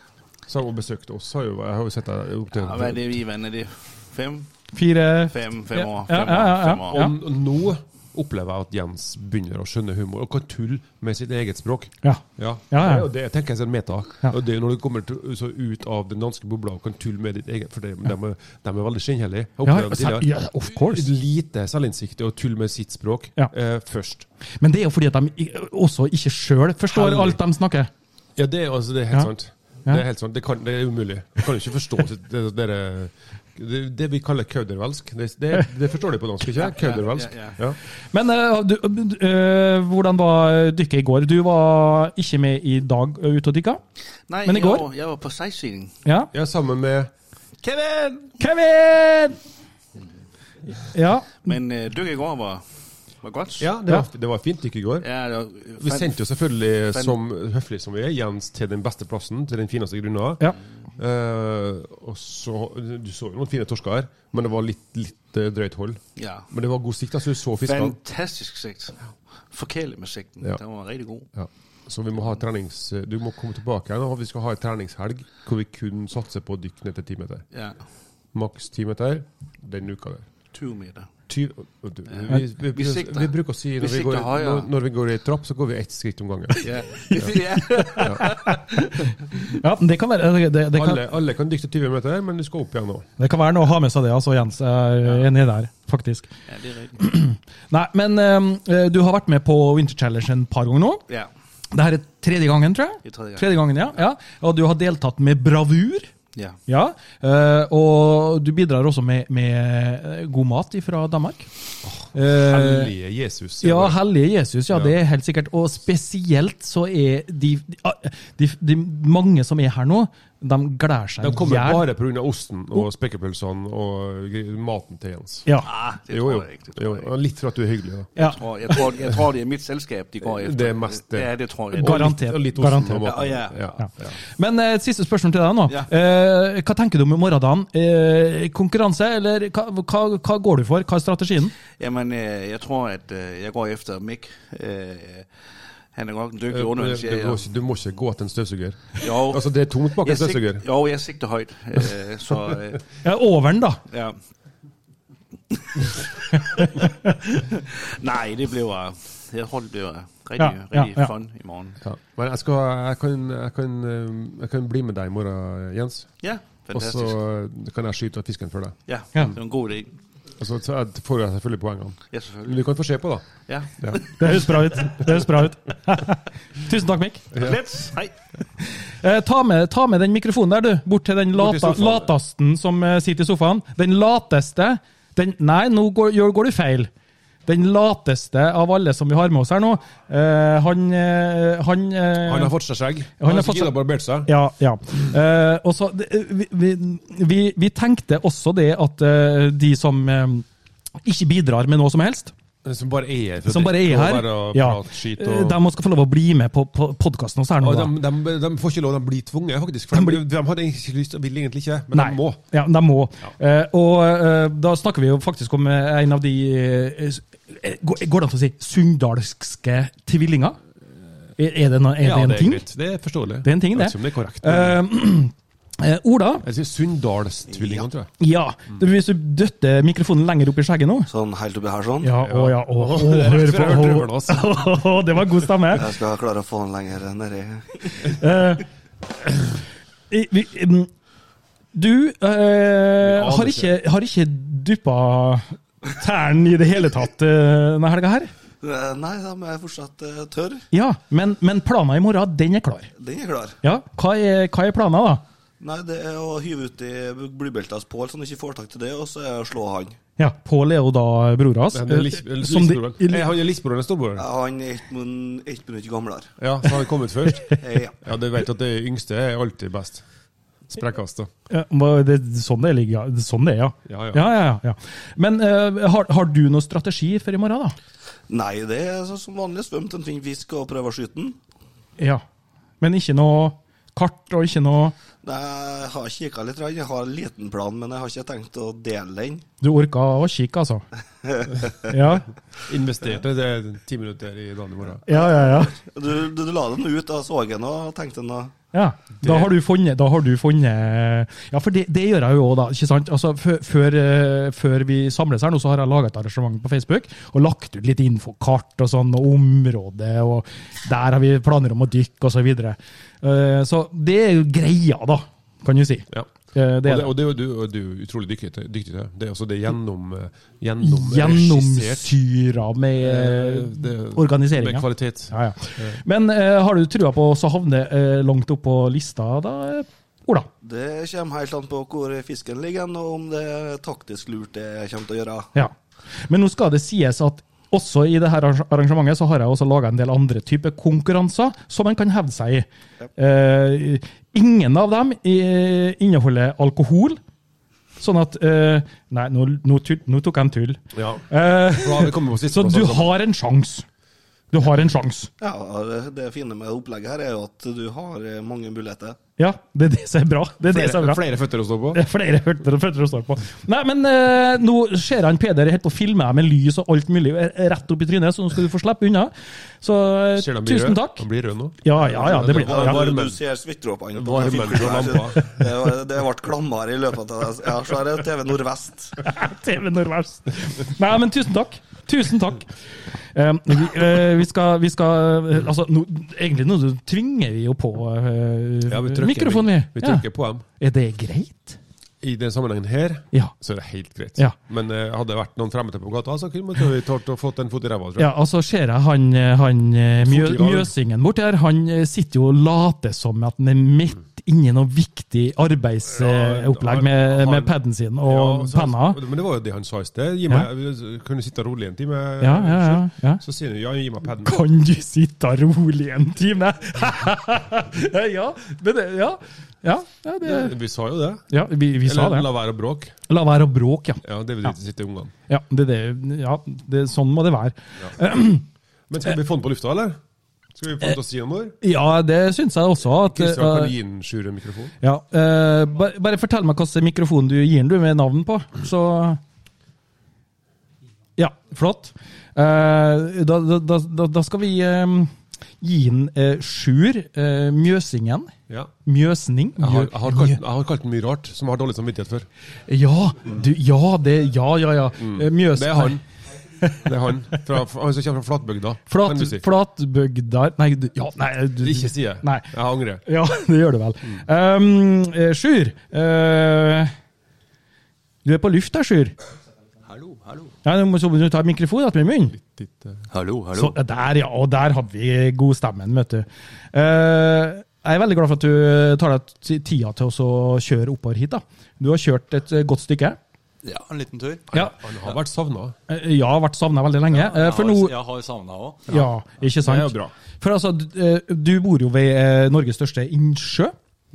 B: Så har hun besøkt oss. Har jo, jeg har jo sett deg opp til
E: Hva er det vi vann? Er det fem?
A: Fire
E: Fem, fem
A: Ja,
E: år.
A: ja,
E: Fem
A: ja, ja,
E: år.
A: ja.
E: Fem år.
B: Og n- og nå opplever jeg at Jens begynner å skjønne humor og kan tulle med sitt eget språk.
A: Ja.
B: Ja,
A: Ja, ja.
B: Det, og det tenker jeg er en meta.
A: Ja.
B: Og det er når du kommer til, så ut av den danske bobla og kan tulle med ditt eget, for det, de, er, de er veldig skinnhellige. Jeg
A: Ja,
B: opplevde det
A: selv-
B: tidligere.
A: ja, of course.
B: Lite selvinnsikt i å tulle med sitt språk
A: Ja.
B: eh, først.
A: Men det er jo fordi at de i- også ikke sjøl forstår
B: Heldig.
A: alt de snakker.
B: Ja, det, er- altså, det er helt
A: Ja.
B: sant.
A: Ja.
B: Det er helt sant. Det, kan, det er umulig. Jeg kan jo ikke forstå det, det, det, er- det, det vi kaller kaudervelsk. Det, det, det forstår de på dansk, ikke? Kaudervelsk.
E: ja,
B: Ja.
A: Men eh, du, eh, hvordan var dykket i går? Du var ikke med i dag eh, ute og dykka?
E: Nei,
A: Men i går?
E: Jeg, var- jeg var på sightseeing.
A: Ja.
B: ja, sammen med
E: Kevin!
A: Mm. Kevin! Ja.
E: Men uh, dykket i går var, var godt.
B: Ja, det var, det var fint ikke i går.
E: Ja, det var,
B: Vi sendte jo selvfølgelig,
E: Fan.
B: som høflig som vi er, Jens til den beste plassen, til den fineste grunna.
A: ja.
B: Eh, og så, du så jo noen fine torsker her, men det var litt, litt eh, drøyt hold.
E: ja.
B: Men det var god sikt, altså. Du så fiskene.
E: Fantastisk sigt. Forkælet med sigten.
B: Ja.
E: Den var rigtig god.
B: Ja. Så vi må ha trenings... Du må komme tilbake igjen, og vi skal ha en treningshelg hvor vi kun satser på dykk ned til ti meter.
E: Ja,
B: Maks ti meter den uka der.
E: 20 meter.
B: Ty du, vi, vi, vi,
E: sikter.
B: vi bruker å si når
E: Vi
B: vi, går,
E: sikter høyere.
B: når, når vi går i trapp, så går vi ett skritt om gangen.
E: Ja, ja.
A: ja men det kan være, det, det, det, kan,
B: Alle, alle kan dykke til 20 meter, men du skal opp igjen nå.
A: det kan være noe å ha med seg det, altså, Jens. Jeg er enig der, faktisk.
E: ja det er rigtigt.
A: Nei, men eh, du har vært med på Winter Challenge en par ganger nå.
E: Ja,
A: Det her er tredje gangen, tror jeg.
E: Det er tredje gang.
A: gangen, ja. ja. Og du har deltatt med bravur.
E: ja.
A: Ja, eh, og du bidrar også med, med god mat fra Danmark. Eh,
B: Hellige Jesus. sier
A: ja,
B: jeg.
A: hellige Jesus, ja,
B: Ja.
A: det er helt sikkert. Og spesielt så er de, ah, de, de mange som er her nå, de gleder seg
B: De kommer
A: ihjel.
B: bare pga. osten og spekepølsene og gr- maten til Jens.
A: Ja.
E: Ah, det
B: Jo,
E: tror
B: jo.
E: jeg ikke. Det tror
B: jo.
E: jeg ikke.
B: og Litt for at du er hyggelig, da.
A: ja.
E: Jeg tror, jeg, tror, jeg tror, det er mit selskab, de går efter.
B: Det er mest det.
E: Ja, det tror jeg.
A: Og-
E: Og,
A: Garantert.
B: Og litt, og litt osten
A: Garantert.
B: og maten.
E: Ja, ja.
A: Ja.
B: ja.
A: Men eh, et siste spørsmål til deg nå.
E: Ja.
A: Eh, hva tenker du om i morgendagen? Eh, konkurranse, eller hva, hva, hva går du for? Hva er strategien?
E: jamen, øh, jeg tror, at øh, jeg går efter Mick. Øh, han er godt en dygtig
B: Du,
E: underholdning, siger jeg.
B: må ikke, du må ikke gå etter en støvsuger.
E: Jo,
B: Altså, det er tomt bak
E: jeg
B: en støvsuger.
E: sigt, jo, jeg sigter højt. Øh, så, øh,
A: Ja, Eh, Overen, da.
E: ja. Nej, det bliver... Jeg tror, det bliver rigtig,
A: Ja, ja,
E: rigtig
A: ja.
E: fun i morgen.
B: Ja. Men jeg, skal, jeg, kan, jeg, kan, eh, jeg kan bli med deg i morgen, Jens.
E: Ja,
B: Og
E: fantastisk.
B: så eh, kan jeg skyte fisken for deg.
E: Ja,
A: Ja.
E: det var en god idé.
B: Og så så jeg får jeg selvfølgelig poengene.
E: Ja,
B: Men
E: selvfølgelig.
B: du kan få se på, da.
E: Ja.
A: Det høres bra ut. Det høres bra ut. Tusen takk, Mikk.
E: Let's! Hei!
A: Eh, ta, med, ta med den mikrofonen der, du. Bort til den
B: Bort til
A: lata,
B: sofaen.
A: latasten som eh, sitter i sofaen. Den lateste den, Nei, nå går, gjør, går du feil. Den lateste av alle som vi har med oss her nå, eh, han eh, Han, eh,
B: Han har fått seg skjegg.
A: har
B: Han har
A: fått seg-
B: ikke giddet å barbert seg.
A: ja, ja. Eh, og så, det- vi, vi, vi, vi tenkte også det at eh, de som eh, ikke bidrar med noe som helst,
B: Som bare er her. for
A: som
B: å
A: bare er
B: drikke og
A: her,
B: Bare å
A: ja,
B: prate skit
A: eh,
B: og...
A: de må skal få lov å bli med på, på podkasten hos her nå.
B: Og
A: da.
B: de, de, de får ikke lov, de blir tvunget, faktisk. For
A: De
B: de,
A: blir-
B: de hadde egentlig ikke lyst, ville egentlig ikke, men de må.
A: Ja, de må. Eh, og eh, da snakker vi jo faktisk om eh, en av de eh, s- eh, Går går det an å si sunndalske tvillinger? Er, er det, no, er det en
B: det
A: ting?
B: greit. Det er forståelig.
A: Det er en ting,
B: Jeg
A: det.
B: vet ikke om det er korrekt.
A: Eh, eh, Ola,
B: jeg sier Sunndalstvillingene, tror jeg.
A: ja. Du, hvis du døtter mikrofonen lenger opp i skjegget nå
F: Sånn helt oppi her sånn.
A: Ja, å ja, å, å,
B: Det er
A: hør
B: rett før jeg hørte
A: på
B: Ørnas. Jeg
A: å, Det var god stemme.
F: Jeg skal klare å få den lenger nedi.
A: Eh, i- vi, mm, du eh,
B: aner
A: har, ikke, har ikke duppa tærne i det hele tatt eh, denne helga her?
F: Eh, Nei, da må jeg fortsatt eh, tørr.
A: Ja, men, men planen i morgen, den er klar.
F: Den er klar.
A: Ja, Hva er, hva er planen, da?
F: Nei, det er å hyve ut i blybeltas Pål, så han ikke får tak til det, og så er det å slå han.
A: Ja, Pål er jo da brora hans.
B: Men det er lis-
A: eh, som de-
B: lisbroren. Nei, Han er lillebroren eller storebroren?
F: Ja, Han er ett mun- ett minutt gamlere.
B: Ja, så han er kommet først.
F: Eh, Ja.
B: Ja, du vet at det yngste er alltid best. Sprekkast, da.
A: Ja, hva- det- Sånn det ligger, ja. Sånn det er, ja.
B: Ja, ja.
A: ja, ja. Men eh, har, har du noen strategi for i morgen, da?
F: Nei, det er så, som vanlig svømt en fin fisk og prøve å skyte den.
A: Ja. Men ikke noe kart og ikke noe
F: Nei, Jeg har kikka litt, jeg har en liten plan, men jeg har ikke tenkt å dele den.
A: Du orka å kikke, altså? Ja,
B: Investerte det er ti minutter i dagen i morgen.
A: ja, ja. ja.
F: Du, du, du la den ut, da så jeg den og tenkte den da.
A: Ja, da har du funnet, da har du funnet Ja, for det, det gjør jeg jo òg, da. ikke sant? Altså, før, før, eh, før vi samles her nå, så har jeg laga et arrangement på Facebook og lagt ut litt infokart og sånn, og område, og der har vi planer om å dykke, osv. Så, videre. Eh, så det er jo greia, da, kan du si.
B: Ja.
A: Eh, Det
B: og,
A: er
B: det,
A: det.
B: og, det, er jo du, og du er utrolig dyktig til dyktig til det. Det er også det gjennom, eh, gjennom regissert,
A: Gjennomsyra
B: eh,
A: med
B: det- Med
A: organiseringa.
B: kvalitet.
A: Ja, ja. Men eh, har du trua på å havne eh, langt opp på lista, da, eh, Ola?
F: Det kommer helt an på hvor fisken ligger, og om det er taktisk lurt det kommer til å gjøre.
A: Ja. Men nå skal det sies at også i det her arrangementet så har jeg også laga en del andre typer konkurranser som en kan hevde seg i. Eh, ingen av dem eh, inneholder alkohol. Sånn at eh, Nei, nå, nå, tull, nå tok jeg en tull.
B: Ja.
A: Eh,
B: Bra, vi kommer på siste
A: så
B: plass,
A: du
B: altså.
A: har en sjanse. Du har en sjanse.
F: Ja, det- Det fine med opplegget her er jo at du har eh, mange muligheter.
A: Ja, det er det som er bra. Det er det som er
B: Flere,
A: bra.
B: flere føtter å stå på.
A: Det er flere føtter og føtter å stå på. Nei, men eh, nå ser han Peder helt og filmer deg med lys og alt mulig eh, rett opp i trynet, så nå skal du få slippe unna. Så eh,
B: Ser du han blir
A: tusen
B: rød?
A: takk.
B: Han blir rød nå.
A: Ja, ja, ja, det blir
F: Ja,
A: ja.
F: bare
B: varmen.
F: du ser svettdråpene på
B: Varmen
F: den filmen
B: fra
F: her,
B: lampa.
F: så Det var- det ble klammere i løpet av det. Ja, så er det TV Nordvest.
A: TV Nordvest. Nei, men tusen takk. Tusen takk. Eh, vi, eh, vi skal, vi skal eh, altså, nå- Egentlig nå tvinger vi jo på eh,
B: Ja, vi trykker-
A: mikrofonen,
B: Vi,
A: vi.
B: vi trykker på dem.
A: Ja. Er det greit?
B: I den sammenhengen her
A: Ja.
B: så er det helt greit.
A: Ja.
B: Men eh, hadde det vært noen fremmede på gata, så kunne man vi tålt å fått en fot i ræva. tror jeg.
A: Ja, altså ser jeg han, han eh, Mjø,
B: Fort i gang.
A: Mjøsingen borti her, han eh, sitter jo og later som at han er midt inni noe viktig
B: Ja,
A: arbeidsopplegg
B: han-
A: med,
B: han-
A: med paden sin og
B: Ja, så-
A: penna.
B: Men det var jo det han sa i sted. Gi
A: Ja.
B: meg, Kan du sitte rolig en time?
A: Ja, ja, ja, ja.
B: Så sier han ja, gi meg paden.
A: Kan du sitte rolig en time? ja, men det, ja. Ja, ja, det,
B: Vi sa jo det.
A: ja vi, vi sa
B: Eller
A: det.
B: la være å bråke.
A: La være å bråke, ja.
B: Ja, det vil ikke sitte ungene.
A: Ja, det, det, ja det, sånn må det være.
B: Men skal vi få den på lufta, eller? Skal vi få den til å si noe?
A: Ja, Eh, det syns jeg også. At,
B: Kristian,
A: eh,
B: kan du gi den Sjur en mikrofon?
A: Ja, eh, bare, bare fortell meg hvilken mikrofon du gir den du med navn på, så Ja, flott. Eh, da, da- da, da, da skal vi eh, gi den eh, Sjur eh, Mjøsingen.
B: Ja.
A: Mjøsning.
B: Jeg har,
A: Mjø-
B: jeg, har kalt, jeg har kalt den mye rart, som jeg har dårlig samvittighet for.
A: Ja, du, ja, det, ja, ja, ja. Eh, Mjøs...
B: Mm. Det er han. Det er han. Fra, fra, han som kommer fra flatbygda.
A: Flat,
B: Kan du si.
A: Flatbygdar Nei, du, ja, nei du,
B: Ikke si det.
A: Nei.
B: Jeg angrer.
A: Ja, det gjør du vel. Um, eh, Sjur. eh, du er på lufta, Sjur.
E: Hallo, hallo.
A: Ja, nå må så må du ta mikrofonen opp med munnen.
B: Ditt, eh,
E: Hallo,
A: Så, der, ja. Og der hadde vi god stemmen, vet du. Eh, jeg er veldig glad for at du tar deg ti- tida til oss å kjøre oppover hit. da. Du har kjørt et eh, godt stykke.
G: Ja, en liten tur.
A: Ja,
B: Han har vært savna.
A: eh, ja har vært savna veldig lenge. Eh,
G: Jeg
A: for
G: har,
A: nå
G: jeg har savna òg.
A: Ja, ikke sant?
B: Det er jo bra.
A: For altså, du, eh, du bor jo ved eh, Norges største innsjø.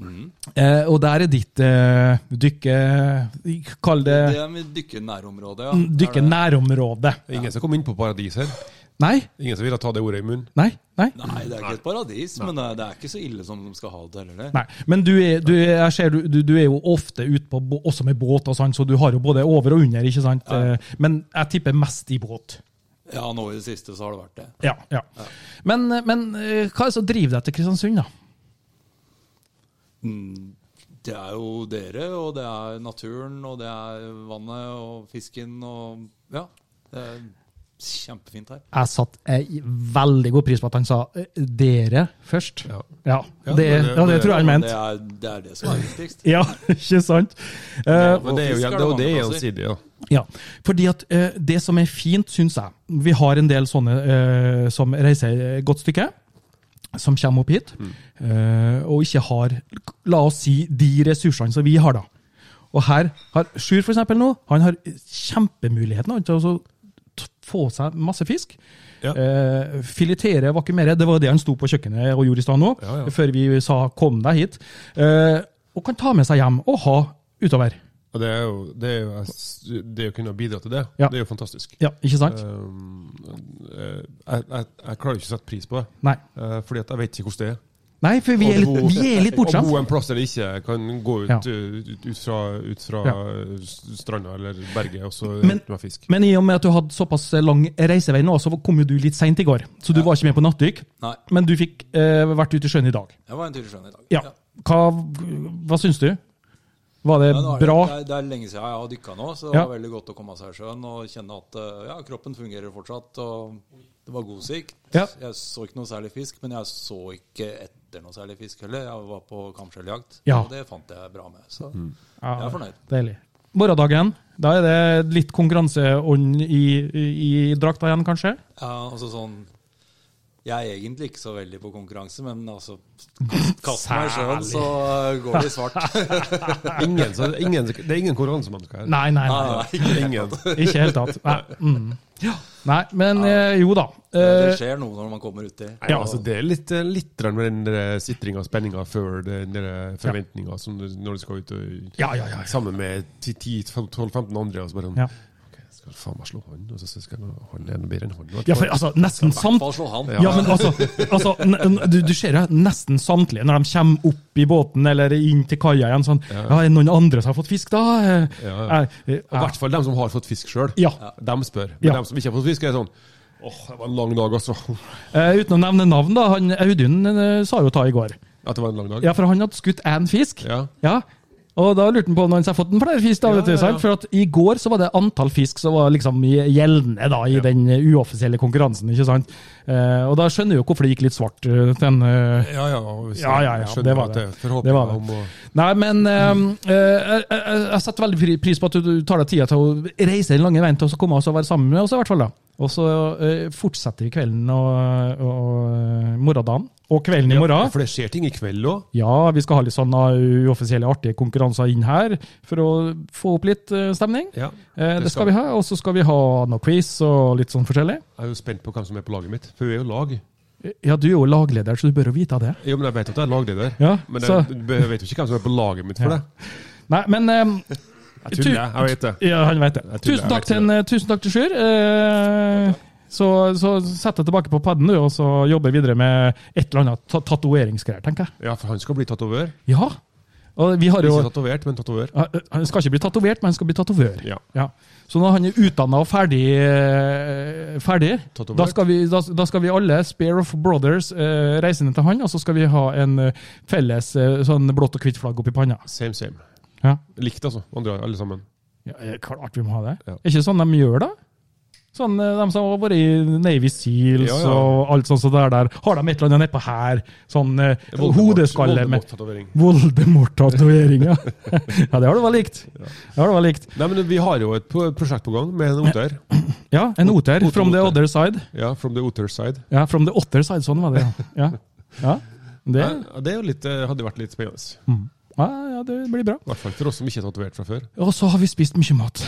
G: Mm.
A: Eh, og der er ditt eh, dykke... Kall
G: Det
A: det
G: er mitt dykkernærområde. Ja.
A: Eh, mm, dykke
G: Er det-
A: nærområde.
B: Ingen som kom inn på paradis her.
A: Nei,
B: Ingen som ville ta det ordet i munnen.
A: nei, nei.
G: Nei, det er ikke et paradis, men det er- det er ikke så ille som de skal ha det heller.
A: Nei, men du er, du, er- jeg ser, du, du, du er jo ofte ute på, bå- også med båt, og sånn, så du har jo både over og under. ikke sant? Eh, Men jeg tipper mest i båt.
G: Ja, nå i det siste så har det vært det.
A: Ja, ja. Men, men eh, hva er det som driver deg til Kristiansund, da?
G: Mm, Det er jo dere, og det er naturen, og det er vannet og fisken og Ja. Det er kjempefint her.
A: Jeg satte eh, veldig god pris på at han sa eh, 'dere' først.
B: Ja.
A: Ja,
B: Ja,
A: det,
B: det-
A: ja, det tror jeg han
G: Det
A: mente.
G: er det, er det som er viktigst.
A: Ja, ikke sant? Eh,
G: Og
B: Men det er jo
G: fisk
B: det,
G: er
B: er jo- det
G: mange
B: er
G: plasser.
B: gjensidig, ja.
A: Ja, fordi at eh, det som er fint, syns jeg Vi har en del sånne eh, som reiser et godt stykke, som kommer opp hit,
B: Mm.
A: eh, og ikke har, la oss si, de ressursene som vi har, da. Og her har Sjur for eksempel nå, han har kjempemuligheten han, til å så t- få seg masse fisk.
B: Ja.
A: Eh, filetere, vakumere. Det var det han sto på kjøkkenet og gjorde i stad nå,
B: Ja, ja.
A: før vi sa 'kom deg hit'. Eh, og kan ta med seg hjem og ha utover.
B: Og det er jo, det er jo det å kunne bidra til det,
A: Ja.
B: det er jo fantastisk.
A: Ja, ikke sant?
B: Um, eh, jeg, jeg, jeg klarer jo ikke å sette pris på det,
A: Nei.
B: eh, fordi at jeg vet ikke hvordan det er.
A: Nei, for vi
B: Og
A: er litt,
B: bo-
A: vi er litt
B: Om
A: bortskjemt.
B: bo en plass eller ikke kan gå ut,
A: Ja.
B: eh, ut, ut fra, ut fra eh, stranda eller berget og så
A: Men-
B: hente meg fisk.
A: Men i og med at du hadde såpass lang reisevei nå, så kom jo du litt seint i går. Så du var ikke med på nattdykk,
G: Nei.
A: men du fikk eh, vært ute i sjøen i dag.
G: Jeg var en tur i sjøen i dag.
A: Ja. Hva, hva syns du? Var det
G: Ja, nå er det-
A: bra?
G: Det, er, det er lenge siden jeg har dykka nå, så det
A: Ja.
G: var veldig godt å komme seg i sjøen og kjenne at eh, ja, kroppen fungerer fortsatt. og Det var god sikt.
A: Ja.
G: Jeg så ikke noe særlig fisk, men jeg så ikke et etter noe særlig fisk heller. Jeg var på kamskjelljakt,
A: Ja.
G: og det fant jeg bra med. Så
A: Ja,
G: jeg er fornøyd.
A: Deilig. Morgendagen, da er det litt konkurranseånd i, i, i drakta igjen, kanskje?
G: Ja, altså sånn Jeg er egentlig ikke så veldig på konkurranse, men altså Kast meg i sjøen, så eh, går det i svart.
B: Ingen, så, ingen, det er ingen konkurransemennesker her.
A: Nei, nei,
G: Nei,
A: nei.
G: nei, ikke det.
B: Ingen.
A: Ikke i hele tatt. Nei, mm. nei men eh, jo da.
G: Det
A: Eh,
G: skjer noe når man kommer uti.
B: Nei, altså Det er litt, eh, litt grann med den der sitringa og spenninga før den der eh, forventninga som du, når du skal ut og
A: Ja, ja, ja, ja.
B: Sammen med 10-12-15 andre. Og så bare sånn,
A: Ja.
B: ok, skal faen meg slå han, og så skal jeg- han er noe bedre enn han.
A: ja, for altså, nesten samt
G: Fall slå han.
A: Ja, men altså, altså n- n- du, du ser jo nesten samtlige når de kommer opp i båten eller inn til kaia igjen sånn Ja, er det noen andre som har fått fisk, da? Eh,
B: Ja.
A: eh,
B: Og I
A: eh,
B: hvert fall dem som har fått fisk sjøl.
A: Ja.
B: Dem spør. Men
A: Ja.
B: dem som ikke har fått fisk, er sånn åh, det var en lang dag, altså.
A: eh, uten å nevne navn, da. Han, Audun eh, sa jo ta i går.
B: At det var en lang dag?
A: Ja, for han hadde skutt én fisk.
B: Ja.
A: Og da lurte han på om han hadde fått en flere fisk. da, vet du, sant? For at i går så var det antall fisk som var liksom gjeldende da, i den eh, uoffisielle konkurransen. ikke sant? Eh, og da skjønner du jo hvorfor det gikk litt svart eh, til en eh,
B: Ja, ja. og hvis-
A: Ja, ja, ja,
B: jeg skjønner
A: det var
B: at
A: det.
B: er forhåpninger
A: Det var det.
B: om å-
A: Nei, men eh, eh, jeg, jeg, jeg setter veldig pri- pris på at du- du tar deg tida til å reise den lange veien til oss og komme oss og være sammen med oss, i hvert fall. da. Og så eh, fortsetter vi kvelden og, og eh, morgendagen. Og kvelden i
B: Ja,
A: morgen.
B: for det skjer ting i kveld òg.
A: Ja, vi skal ha litt sånne uoffisielle, artige konkurranser inn her for å få opp litt eh, stemning.
B: Ja,
A: Eh, det,
B: det
A: skal
B: skal
A: vi ha. Og så skal vi ha noe quiz og litt sånn forskjellig.
B: Jeg er jo spent på hvem som er på laget mitt, for vi er jo lag.
A: Ja, du er jo lagleder, så du bør jo vite det.
B: Jo, men jeg vet at jeg er lagleder,
A: Ja,
B: men
A: så-
B: jeg, jeg vet jo ikke hvem som er på laget mitt for
A: Ja.
B: det.
A: Nei, men eh,
B: Jeg tuller, jeg vet det.
A: Ja, han vet det.
B: Jeg tuller,
A: Tusen
B: jeg
A: takk,
B: vet
A: til, en, tusen takk til Sjur. Eh, så, så sett deg tilbake på padden, du, og så jobber videre med et eller annet ta- tatoveringsgreier, tenker jeg.
B: Ja, for han skal bli tatover.
A: Ja. Og vi har jo eh,
B: Ikke tatovert, men tatover.
A: Han skal ikke bli tatovert, men han skal bli tatovør.
B: Ja.
A: Så når han er utdanna og ferdig, eh, ferdig
B: Tatovert.
A: da, skal vi, da, da skal vi alle, Spare of Brothers, eh, reise ned til han, og så skal vi ha en eh, felles eh, sånn blått og hvitt flagg oppi panna.
B: Same, same.
A: Ja.
B: Likt, altså. Andre, alle sammen.
A: Ja, eh, klart vi må ha det.
B: Ja.
A: Er ikke sånn de gjør, da? Sånn, eh, De som har vært i Navy Seals
B: Ja, ja.
A: og alt sånt som det er der, har de et eller annet nedpå her? Sånn eh, hodeskalle med
B: Voldemort-tatovering.
A: Voldemort-tatovering, ja. ja, det har du vel likt. Det har du vel likt.
B: Nei, men vi har jo et pro- prosjekt på gang med en oter.
A: Ja, en oter.
B: Oter,
A: From the
B: oter.
A: other side.
B: Ja, From the Oter Side.
A: Ja, from the otter side, sånn var det. Ja, ja. ja. Det,
B: Ja, det er jo litt, eh, hadde vært litt spennende.
A: ja, ja, det blir bra.
B: I hvert fall for oss som ikke er tatovert fra før.
A: Og så har vi spist mye mat.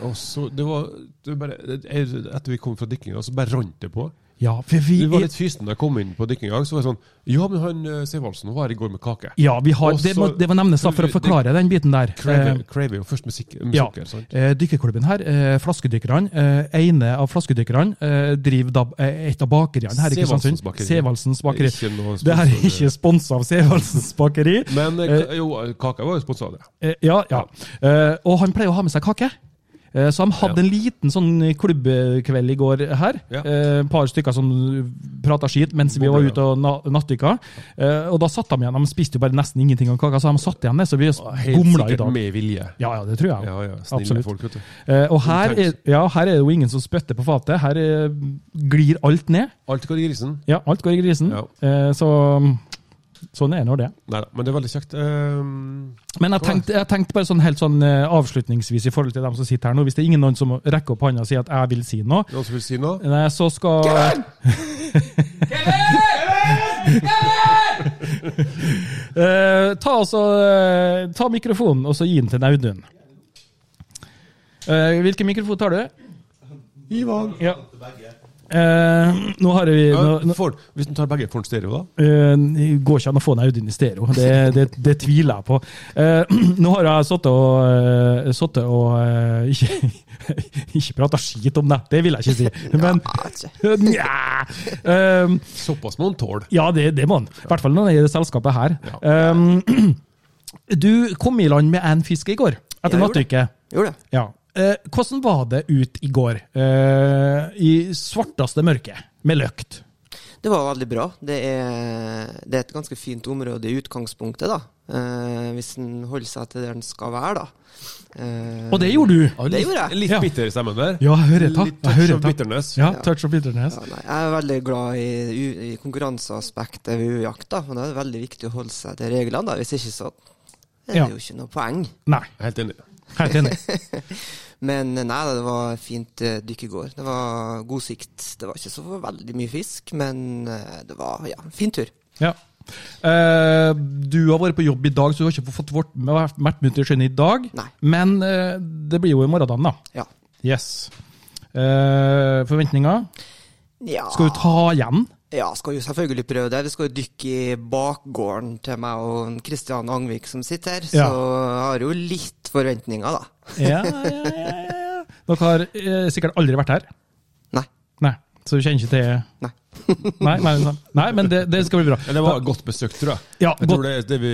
B: Og så, det var, det bare, jeg- etter vi kom fra dykkinga, så bare rant det på.
A: Ja, for vi,
B: Vi var litt fysen da jeg kom inn på dykkinga. Så var jeg sånn Ja, men han eh, Sevaldsen var her i går med kake.
A: ja, vi har,
B: Og
A: det,
B: så-
A: må, det må nevnes da for å
B: Det-
A: forklare den biten der. Eh,
B: Craver craver jo først med, sik med
A: Ja.
B: sukker. Sant?
A: Eh, dykkerklubben her, eh, flaskedykkerne, eh, ene av flaskedykkerne, eh, driver da, eh, et av bakeriene her i Kristiansund.
B: Sevaldsens bakeri.
A: Sevaldsens bakeri.
B: Det er ikke noe
A: Det her er
B: sponsor-
A: ikke sponsa av Sevaldsens bakeri.
B: Men eh, ka- jo, kaka var jo sponsa av det.
A: Eh, ja, ja. Eh, og han pleier å ha med seg kake. Eh, Så de hadde
B: Ja.
A: en liten sånn klubbkveld i går her.
B: Ja.
A: Eh, Et par stykker som prata skit mens vi var
B: Bobler,
A: ute og na- nattdykka. Eh, Og da satt de igjen. De spiste jo bare nesten ingenting av kaka, så de satt igjen, det, så vi gomla i dag.
B: med vilje.
A: Ja, ja, det tror jeg.
B: Ja, ja. Snille
A: Absolutt.
B: folk, vet du.
A: Eh, og her er,
B: Intenst.
A: ja, her er det jo ingen som spytter på fatet. Her eh, glir alt ned.
B: Alt går i grisen.
A: Ja, alt går i grisen.
B: Ja.
A: Eh, så sånn er nå det.
B: Nei da, men det er veldig kjekt. Ehm,
A: Men jeg tenkte, jeg tenkte bare sånn helt sånn eh, avslutningsvis i forhold til dem som sitter her nå. Hvis det er ingen noen som rekker opp hånda og sier at 'jeg vil si noe',
B: noen som vil si noe?
A: Nei, så skal Kevin! Eh, ta, og så, eh, ta mikrofonen og så gi den til Audun. Eh, hvilken mikrofon tar du?
B: Ivan.
A: Ja. Eh, nå har vi
B: Ja,
A: nå, nå,
B: får- hvis du tar begge får den stereo, da?
A: Eh, det går ikke an å få en Audun i stereo, det, det, det tviler jeg på. Eh, nå har jeg sittet og, eh, sittet og eh, ikke, ikke prata skit om deg, det vil jeg ikke si. Men Nja. Eh,
B: Såpass må han tåle.
A: ja, det, det må han. I hvert fall når det er i det selskapet her. Eh, du kom i land med én fisk i går, etter
H: Jeg gjorde det.
A: nattdykket.
H: Gjorde det.
A: Ja. Eh, hvordan var det ut i går, eh, i svarteste mørket, med løkt?
H: Det var veldig bra. Det er, det er et ganske fint område i utgangspunktet, da. eh, hvis den holder seg til der den skal være, da. Eh,
A: Og det gjorde du!
B: Ja,
H: Det
B: litt,
H: gjorde jeg.
B: litt
A: Ja.
B: bitter i stemmen der.
A: Ja, jeg hører ta.
B: Litt
A: Jeg
B: touch
A: hører
B: of
A: ta.
B: bitterness.
A: Ja, touch of bitterness.
H: ja, nei, jeg er veldig glad i, u- i konkurranseaspektet ved U-jakt, da. Men det er det veldig viktig å holde seg til reglene, da. Hvis ikke så er det
A: Ja.
H: jo ikke noe poeng.
A: Nei,
B: Jeg er Helt enig.
A: helt enig.
H: Men eh, nei, da, det var fint eh, dykk i går. Det var god sikt. Det var ikke så veldig mye fisk, men eh, det var ja, fin tur.
A: Ja. Eh, du har vært på jobb i dag, så du har ikke fått vårt, vært med til skjønnet i dag.
H: Nei.
A: Men eh, det blir jo i morgendagen, da.
H: Ja.
A: Yes. Eh, forventninger?
H: ja.
A: Skal du ta igjen?
H: Ja, skal jo selvfølgelig prøve det. Vi skal jo dykke i bakgården til meg og Kristian Angvik som sitter her, så
A: Ja.
H: jeg har jo litt forventninger, da.
A: Ja, ja, ja, ja, ja. Dere har eh, sikkert aldri vært her.
H: Nei.
A: Nei, så du kjenner ikke til
H: Nei.
A: Nei, nei, nei. nei men det, det skal bli bra.
B: Ja, det var godt besøkt, tror jeg.
A: Ja,
B: Jeg
A: godt.
B: tror det er det vi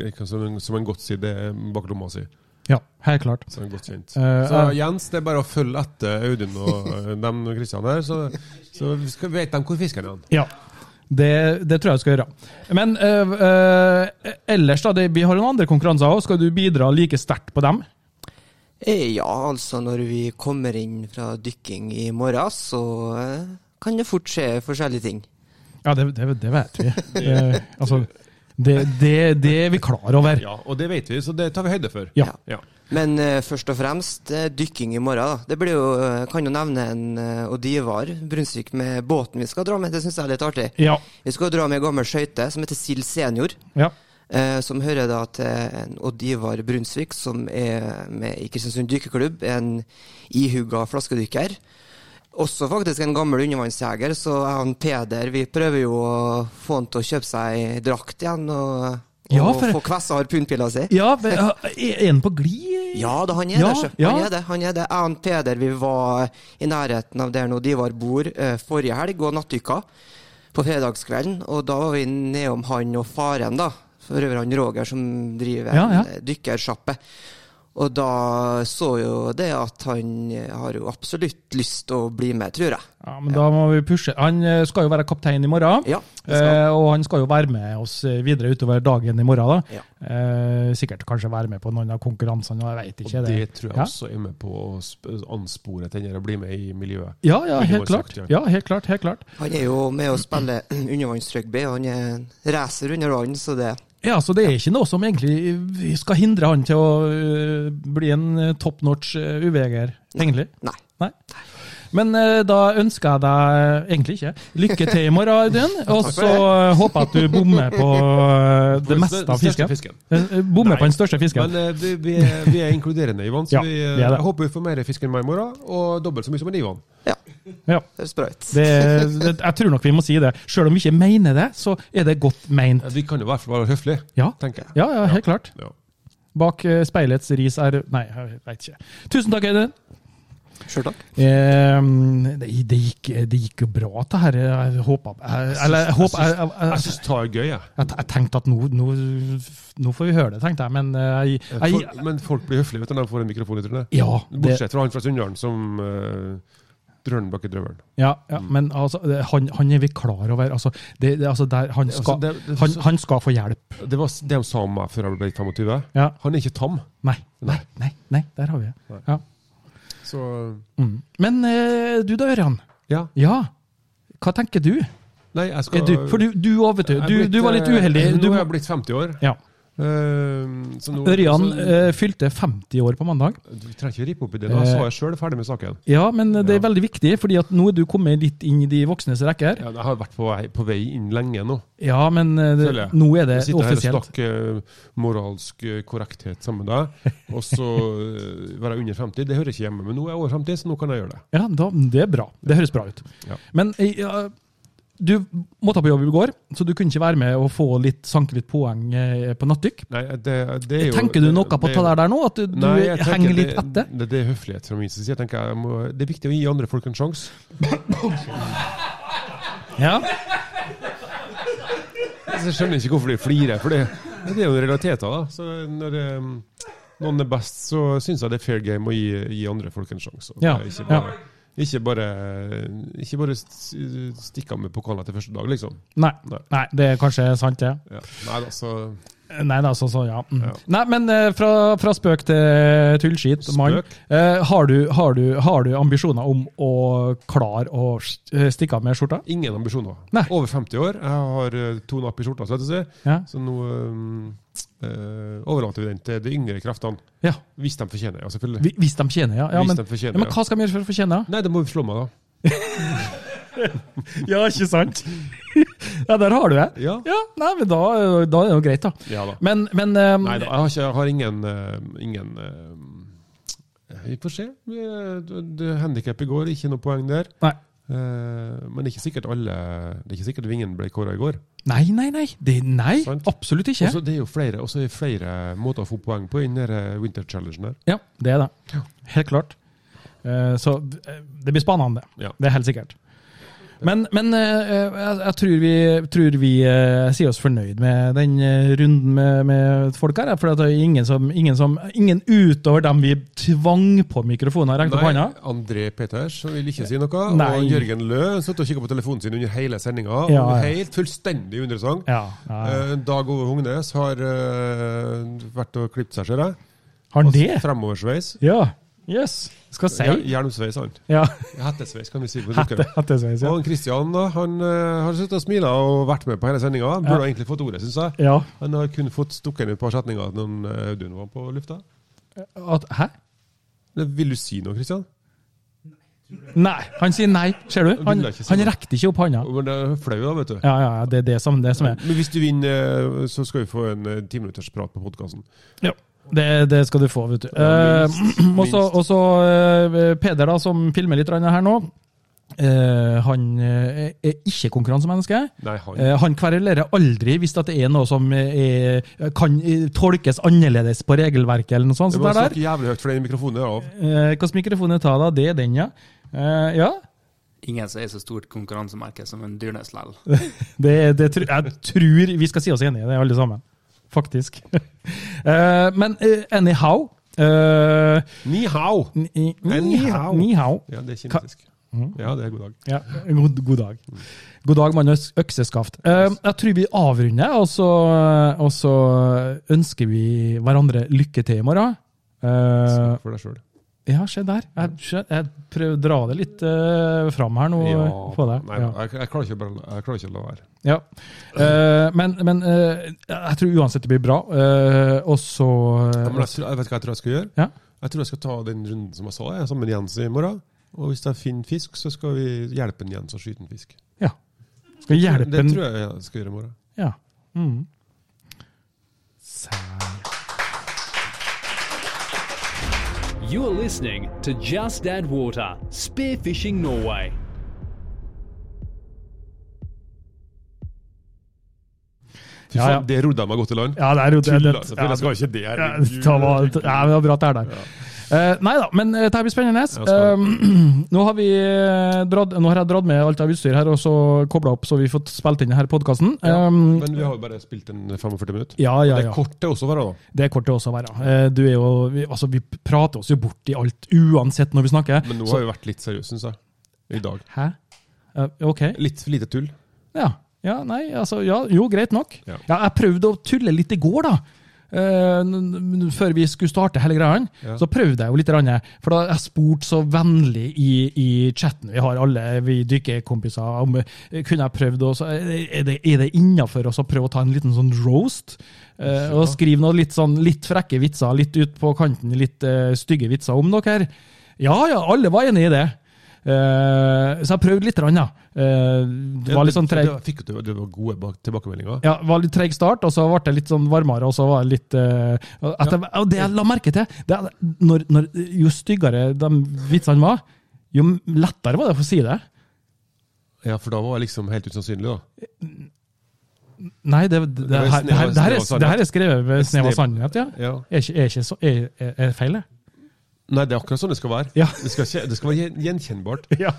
B: eh, eh, som, en, som en godt sier, det er bak lomma si.
A: Ja, helt klart.
B: Som en godt kjent.
A: Eh,
B: Så
A: jeg-
B: Jens, det er bare å følge etter Audun og eh, dem og Kristian her, så, så skal, vet de hvor fisken er.
A: Ja. Det, det tror jeg jeg skal gjøre. Men eh, eh, ellers, da. Det, vi har noen andre konkurranser òg. Skal du bidra like sterkt på dem?
H: Eh, Ja, altså når vi kommer inn fra dykking i morgen, så eh, kan det fort skje forskjellige ting.
A: Ja, det, det, det vet vi. Eh, altså, det, det, det er vi klar over.
B: Ja, og det vet vi, så det tar vi høyde for.
A: Ja.
B: Ja.
H: Men eh, først og fremst eh, dykking i morgen. da. Det blir jo, eh, kan jo nevne en eh, Odivar Brunsvik med båten vi skal dra med. Det syns jeg er litt artig.
A: Ja.
H: Vi skal dra med ei gammel skøyte som heter Sild senior.
A: ja.
H: Eh, som hører da til en Odd Ivar Brunsvik, som er med i Kristiansund dykkerklubb. En ihuga flaskedykker. Også faktisk en gammel undervannsjeger, så jeg og Peder vi prøver jo å få han til å kjøpe seg drakt igjen. Og, og
A: Ja, for-
H: få kvessa harpunpila si.
A: ja men, eh, er den på glid?
H: Ja da, han er
A: Ja,
H: det. sjø.
A: ja.
H: Han er det. han er det. Jeg og Peder vi var i nærheten av der nå Divar bor eh, forrige helg og nattdykka på fredagskvelden. Og da var vi nedom han og faren, da. For øvrig han Roger som driver
A: Ja, ja.
H: en eh, dykkersjappe. Og da så jo det at han eh, har jo absolutt lyst til å bli med, tror jeg.
A: Ja, men da må vi pushe. Han eh, skal jo være kaptein i morgen.
H: Ja, det skal
A: Eh, og han skal jo være med oss eh, videre utover dagen i morgen. da.
H: Ja.
A: Eh, sikkert kanskje være med på noen av konkurransene, jeg veit ikke.
B: Og det tror jeg
A: Ja?
B: også er med på å sp- anspore til denne å bli med i miljøet.
A: Ja, ja, helt
B: Det var
A: klart.
B: sagt, ja.
A: Ja, helt klart, helt klart.
H: Han er jo med å spille undervannsrugby, og han er en racer under vann, så det
A: Ja, Så det er ikke noe som egentlig skal hindre han til å eh, bli en eh, top notch eh, uveger, egentlig?
H: Nei.
A: Nei. Men eh, da ønsker jeg deg egentlig ikke lykke til i morgen, Audun. Og så eh, håper jeg at du bommer på eh, det
B: den
A: meste av
B: største
A: fisken.
B: fisken.
A: Eh, eh, Bommer på den største fisken.
B: Men eh, vi, vi, er, vi er inkluderende, Ivan, så
A: Ja,
B: vi,
A: vi
B: eh,
A: er det.
B: jeg håper vi får mer fisk enn meg i morgen, og dobbelt så mye som en Ivan.
H: Ja,
A: Ja.
H: det høres bra ut.
A: Det, det, jeg tror nok vi må si det. Sjøl om vi ikke mener det, så er det godt meint.
B: Ja, Vi kan jo i hvert fall være høflige,
A: Ja,
B: tenker jeg.
A: ja, ja helt klart.
B: Ja.
A: Bak eh, speilets ris er Nei, jeg veit ikke. Tusen takk, Audun.
H: Sjøl takk.
A: Eh, det, det, gikk, det gikk jo bra, dette her. Jeg håper jeg- Eller jeg håper jeg- jeg- jeg-
B: Jeg syns det er gøy, jeg.
A: Jeg, jeg tenkte at nå, nå, nå får vi høre det, tenkte jeg. Men eh, jeg, jeg,
B: Folk- men folk blir høflige vet du, når de får en mikrofon i trynet.
A: ja, det,
B: Bortsett fra han fra Sunndalen som uh, drønner bak i drøvelen.
A: ja, ja,
B: Mm.
A: men altså, det- han, han er vi klar over. Altså, det, det, altså der, han, skal,
B: det- det-
A: han, han skal få hjelp.
B: Det var s- det de sa om meg før jeg ble 25.
A: Ja.
B: Han er ikke tam.
A: Nei, nei, nei, nei der har vi det.
B: Nei.
A: Ja.
B: Så
A: Mm. Men eh, du da, Ørjan.
B: ja.
A: Ja, hva tenker du?
B: Nei, jeg skal
A: Er du for du, du også, vet du.
B: Jeg er
A: Du,
B: blitt,
A: du var litt
B: eh,
A: uheldig. Du,
B: Nå er jeg blitt 50 år.
A: ja.
B: Eh, så nå- altså-
A: Ørjan
B: så-
A: eh, fylte 50 år på mandag.
B: Du trenger ikke rippe opp i det. Da sa
A: Eh,
B: jeg sjøl ferdig med saken.
A: Ja, men eh, det er
B: Ja.
A: veldig viktig, fordi at nå er du kommet litt inn i de voksnes rekker.
B: Ja, jeg har vært på vei, på vei inn lenge nå.
A: Ja, men eh, det,
B: Føler jeg.
A: nå er det
B: Jeg sitter her og
A: offisielt.
B: snakker eh, moralsk eh, korrekthet sammen med deg, og så eh, være under 50. Det hører ikke hjemme, men nå er jeg over 50, så nå kan jeg gjøre det.
A: Ja, da, det er bra. Det høres bra ut.
B: Ja.
A: Men eh, ja, du måtte på jobb i går, så du kunne ikke være med og få litt, sanke litt poeng eh, på nattdykk.
B: Nei, det, det er jo
A: Tenker du noe på
B: det er
A: det
B: jo-
A: der der nå? At du, du
B: Nei, jeg tenker
A: henger litt
B: det,
A: etter?
B: det, det er høflighet fra min side. Jeg tenker jeg må, det er viktig å gi andre folk en sjanse.
A: Ja.
B: Altså, Jeg skjønner ikke hvorfor de flirer, for det, det er jo realiteter. da. Så når eh, em, noen er best, så syns jeg det er fair game å gi, gi andre folk en sjanse. og
A: Ja,
B: det er Ikke bare Ikke bare, eh, ikke bare st- stikke av med pokalen etter første dag, liksom.
A: Nei.
B: Nei.
A: Nei, det er kanskje sant, det.
B: Ja. Nei altså da, så
A: Nei da, så, så ja. Mm.
B: Ja.
A: Nei, men eh, fra, fra spøk til tullskit, mann.
B: Spøk?
A: Eh, har, du, har, du, har du ambisjoner om å klare å eh, stikke av med skjorta?
B: ingen ambisjoner.
A: Nei.
B: Over 50 år. Jeg har eh, to napp i skjorta, så, vet du, så-
A: Ja.
B: så nå um, eh, overlater vi den til de yngre kreftene.
A: ja.
B: Hvis de fortjener det, ja, selvfølgelig.
A: Hvi- Hvis de tjener, ja. ja
B: Hvis
A: men,
B: de fortjener,
A: ja, men
B: ja.
A: hva skal de gjøre for å fortjene?
B: Nei, det må jo slå meg, da.
A: Ja, ikke sant? ja, der har du det.
B: Ja.
A: Ja, nei, men da, da er det jo greit, da.
B: Ja da.
A: Men, men eh,
B: Nei da, jeg har, ikke, jeg har ingen, eh, ingen eh, Vi eh, får se. Handikap i går, ikke noe poeng der.
A: nei.
B: Eh, Men det er ikke sikkert alle Det er ikke sikkert Vingen ble kåra i går.
A: nei, nei, nei. Det, nei
B: Sant.
A: absolutt ikke.
B: Også, det er jo flere, også er det flere måter å få poeng på i den der eh, Winter Challengen der.
A: Ja, det er det. Helt klart. Eh, Så eh, det blir spennende.
B: Ja.
A: Det er helt sikkert. Men, men eh, jeg, jeg tror vi, tror vi eh, sier oss fornøyd med den eh, runden med, med folk her. ja, For det er ingen, som, ingen, som, ingen utover dem vi tvang på mikrofonen, har rekt opp hånda.
B: André Peters som vil ikke si noe.
A: Nei.
B: Og Jørgen Lø satt og kikka på telefonen sin under hele sendinga.
A: Ja,
B: og
A: ja.
B: Helt fullstendig uinteressant.
A: Ja, ja.
B: Eh, Dag Ove Hognes har eh, vært og klippet seg, ser jeg.
A: Har han det?
B: Fremoversveis.
A: Ja. Yes. Skal si.
B: Hjer- Hjelmsveis, han.
A: Ja.
B: Hettesveis, kan vi si. på
A: Hette,
B: dere.
A: hettesveis, ja.
B: Og han Kristian da, han eh, har sittet og smilet og vært med på hele sendinga. Burde
A: Ja.
B: egentlig fått ordet, syns jeg.
A: ja.
B: Han har kun fått stukket inn et par setninger når han, eh, Audun var på lufta.
A: At, hæ?
B: Det vil du si noe, Kristian?
A: Nei. Han sier nei, ser du? Han,
B: Ville ikke si
A: han
B: noe.
A: rekte ikke opp hånda.
B: Men det er flau, da, vet du.
A: Ja, ja, ja, det er det som, det som er.
B: Men hvis du vinner, eh, så skal vi få en eh, timinuttersprat prat på podkasten.
A: Ja. Det, det skal du få, vet du.
B: Ja, minst,
A: Eh, og så-
B: minst.
A: og så eh, Peder, da, som filmer litt grann her nå. eh, han eh, er ikke konkurransemenneske.
B: Nei, han.
A: Eh, han kverulerer aldri hvis at det er noe som eh, er, kan eh, tolkes annerledes på regelverket eller noe sånt.
B: Jeg
A: Så
B: må
A: der, der.
B: snakke jævlig høyt, for den mikrofonen er av.
A: Eh, Hvilken mikrofon jeg tar da? Det er den, ja. Eh, ja,
I: Ingen som er så stort konkurransemerke som en Dyrnes lell.
A: Det, det, tr- jeg tror vi skal si oss enige i det, alle sammen. Faktisk. Eh, men eh, anyhow eh,
B: Ni hao!
A: ni, ni,
B: Anyhow.
A: Ni hao.
B: Ja, det er kinesisk. Mhm.
A: Mm.
B: Ja, det er god dag.
A: Ja, god, god dag. God dag, mann øs- økseskaft. Eh, jeg tror vi avrunder, og så, og så ønsker vi hverandre lykke til i morgen. Eh,
B: Snakk for deg sjøl.
A: ja, se der. Jeg, skjø- jeg prøver å dra det litt eh, fram her nå. på deg.
B: Nei,
A: Ja.
B: jeg, jeg klarer ikke å bare- jeg klarer ikke å la være.
A: Ja. Eh, men men eh, jeg tror uansett det blir bra. Eh, og så eh,
B: Ja, men jeg, tror- jeg vet hva jeg tror jeg skal gjøre.
A: Ja.
B: Jeg tror jeg skal ta den runden som jeg sa, jeg, sammen med Jens i morgen. Og hvis jeg finner fisk, så skal vi hjelpe en Jens å skyte en fisk.
A: ja. Skal hjelpe
B: Det
A: en
B: tror jeg jeg skal gjøre i morgen.
A: Ja. Mm. Sær.
C: You're listening to Just Add Water, Spearfishing Norway.
B: Fy
A: Ja, ja.
B: faen, det rodde jeg meg godt i land.
A: Ja, det er jo det.
B: Tulla,
A: det-
B: selvfølgelig
A: ja,
B: skal jeg ikke altså, det her.
A: Ja, det var, ja, det var bra at det er der. Eh, nei da, men eh, dette blir spennende.
B: Ja, spennende.
A: Eh, nå, har vi, eh, dratt, nå har jeg dratt med alt av utstyr her og så kobla opp, så vi får spilt inn denne podkasten.
B: Ja,
A: Um,
B: Men vi har jo bare spilt en 45 minutter.
A: ja, ja,
B: Det
A: ja.
B: er kort det også, bare da.
A: Det er kort det også å være. Eh, Du er jo, vi, altså, vi prater oss jo bort i alt, uansett når vi snakker.
B: Men nå
A: Så-
B: har vi vært litt seriøse, syns jeg. I dag.
A: Hæ? Eh, ok.
B: Litt for lite tull.
A: Ja. ja, nei, altså, ja, jo, greit nok. Ja.
B: Ja.
A: jeg prøvde å tulle litt i går, da. Eh, n- n- før vi skulle starte hele greia,
B: Ja.
A: så prøvde jeg jo litt. grann, For da jeg spurte så vennlig i, i chatten vi har alle, vi dykkerkompiser, om eh, kunne jeg prøvd å så eh, Er det, er det innafor å prøve å ta en liten sånn roast? Eh, og skrive noe litt sånn litt frekke vitser, litt ut på kanten, litt eh, stygge vitser om dere. Ja ja, alle var enig i det. Eh, så jeg prøvde litt, grann, ja. Eh, det var litt sånn treig
B: Det fikk jo til- det var gode bak- tilbakemeldinger.
A: ja, det var litt treg start, og så ble det litt sånn varmere, og så var det litt eh, at jeg, Og det jeg la merke til, det er når, når, jo styggere de vitsene var, jo lettere var det for å si det.
B: Ja, for da var jeg liksom helt usannsynlig, da.
A: Nei, det, det, det,
B: var
A: her, det, her, det, her, er, det her er skrevet med snev av
B: Snev.
A: sannhet, ja.
B: Ja.
A: Er ikke, er ikke så er, er, er det feil, det?
B: Nei, det er akkurat sånn det skal være.
A: Ja.
B: Det, skal, ikke- det skal være gjen- gjenkjennbart.
A: Ja.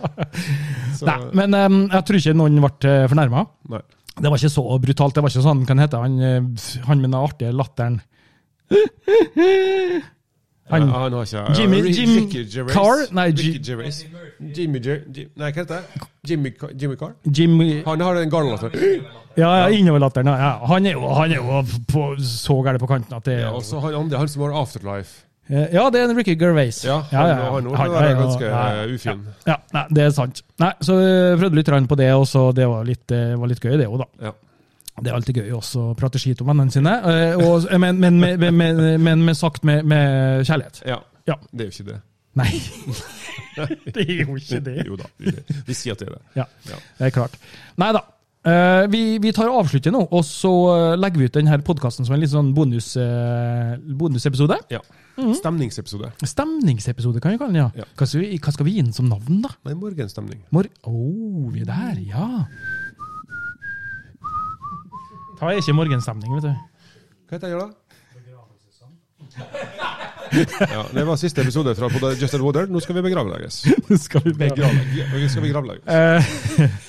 B: Så,
A: Nei, men eh, jeg tror ikke noen ble fornærma.
B: nei.
A: Det var ikke så brutalt. Det var ikke sånn, hva heter han, eh, han med den artige latteren? Han-
B: ja, han har ikke
A: Jimmy-
B: Rick-
A: Jim
B: Ricky Gervais.
A: Carr? Nei, Ji-
B: Ricky Gervais. Jimmy Ger... Jim, nei, hva heter det? Jimmy, Ca- Jimmy Carr?
A: Jim
B: Han har altså. den garnlatteren.
A: Ja, ja innoverlatteren. Ja. ja. Han er jo, han er jo på, så gæren på kanten at det
B: Ja, altså. og så han andre, han som har Afterlife.
A: Eh, Ja, det er en Ricky Gervais.
B: Ja,
A: ja, ja.
B: Han, han,
A: Han-
B: han,
A: ja,
B: er ganske
A: ja, ja.
B: eh, ufin.
A: Ja, nei, det er sant. Nei, så eh, jeg prøvde litt rann på det, og så det var litt, eh, var litt gøy, det òg, da.
B: Ja.
A: Det er alltid gøy også å prate skit om vennene sine, eh, og, men, men, men, men, men, men med sagt med, med kjærlighet.
B: Ja.
A: Ja.
B: Det er jo ikke det.
A: Nei, det er jo ikke det.
B: Jo da, det er det. vi sier at det er det.
A: Ja,
B: Ja.
A: det er klart. Nei da. Eh, vi, vi tar og avslutter nå, og så eh, legger vi ut denne podkasten som en litt sånn bonus, eh, bonusepisode.
B: Ja. Stemningsepisode.
A: Stemningsepisode, kan vi kalle den. ja.
B: Ja.
A: Hva, skal vi, hva skal vi gi den som navn, da?
B: Nei, morgenstemning.
A: Mor oh, vi er der, ja. Ta er ikke morgenstemning, vet du.
B: Hva heter jeg da? ja, det var siste episode fra både Justin Water. Nå skal vi begravlegges.
A: Nå skal vi begynne.
B: Begravlegges. Vi skal begravlegges.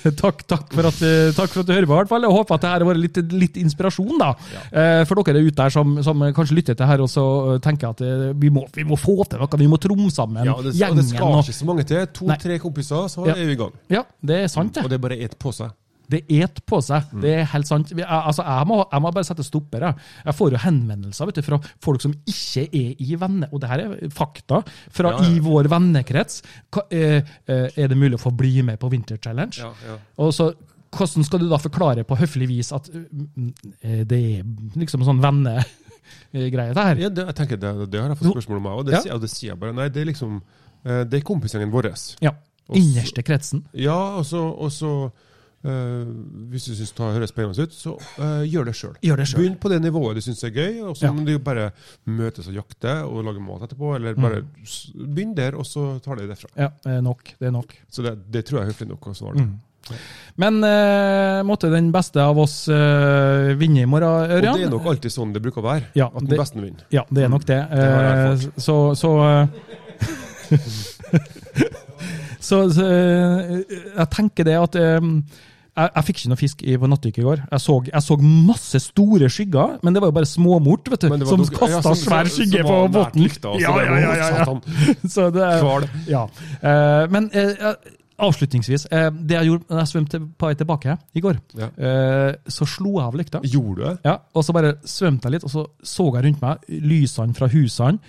A: Eh, takk, takk, for at, eh, takk for at du hører på, i hvert fall. Jeg håper at det her har vært litt, litt inspirasjon da, eh, for dere ute der som, som kanskje lytter til her og så eh, tenker at eh, vi må, vi må få til noe, vi må tromme sammen
B: Ja, og det, og
A: gjengen.
B: det skal
A: og-
B: ikke så mange til. To-tre kompiser, så
A: Ja.
B: er vi i gang.
A: Ja, det er sant,
B: Og
A: det.
B: det Mm. er bare ett på seg.
A: Det et på seg. Det er helt sant. Vi- Jeg, altså, jeg, må, jeg må bare sette stopper. Jeg, jeg får jo henvendelser vet du, fra folk som ikke er i venner... Og det her er fakta. Fra
B: Ja, ja.
A: i vår vennekrets. Hva, eh, eh, er det mulig å få bli med på Winter Challenge?
B: Ja, ja.
A: Og så, hvordan skal du da forklare på høflig vis at mm, eh, det er liksom sånn vennegreie, det her?
B: Ja, det, jeg tenker det, det har jeg fått spørsmål om, jeg, og det,
A: Ja.
B: sier- og det sier jeg bare. Nei, det er liksom eh, Det er kompisgjengen vår.
A: Ja. Innerste kretsen.
B: Ja, og så, og så eh, Hvis du syns det høres spennende ut, så eh, gjør det sjøl.
A: Gjør det sjøl.
B: Begynn på det nivået du syns er gøy, og så
A: Ja.
B: må du bare møtes og jakte og lage mat etterpå. Eller bare
A: Mm.
B: s- begynn der, og så tar det derfra.
A: Ja, det er nok. Det er nok.
B: Så det, det tror jeg er høflig nok å svare.
A: Mm. Men eh, måtte den beste av oss eh, vinne i morgen,
B: Og
A: Ørjan?
B: det er nok alltid sånn det bruker å være.
A: Ja,
B: at
A: det-
B: den beste vinner.
A: Ja, det er nok det.
B: Mm, har jeg
A: Eh,
B: erfart.
A: så så, eh, så, så eh, jeg tenker det at eh, jeg, jeg fikk ikke noe fisk i- på nattdykket i går. Jeg så, jeg så masse store skygger, men det var jo bare småmort vet du,
B: Men det var
A: som
B: nok- ja,
A: kasta
B: som-
A: svær
B: som-
A: skygge
B: som
A: på
B: var nært
A: båten.
B: lykta, og så
A: Ja,
B: det
A: ja,
B: var,
A: ja, ja,
B: satan.
A: ja. Så det,
B: Kval.
A: ja. Eh, men eh, eh, avslutningsvis eh, Det jeg gjorde da jeg svømte på vei tilbake i går,
B: Ja.
A: eh, så slo jeg av lykta.
B: Gjorde du det?
A: Ja, og så bare svømte jeg litt, og så så jeg rundt meg lysene fra husene,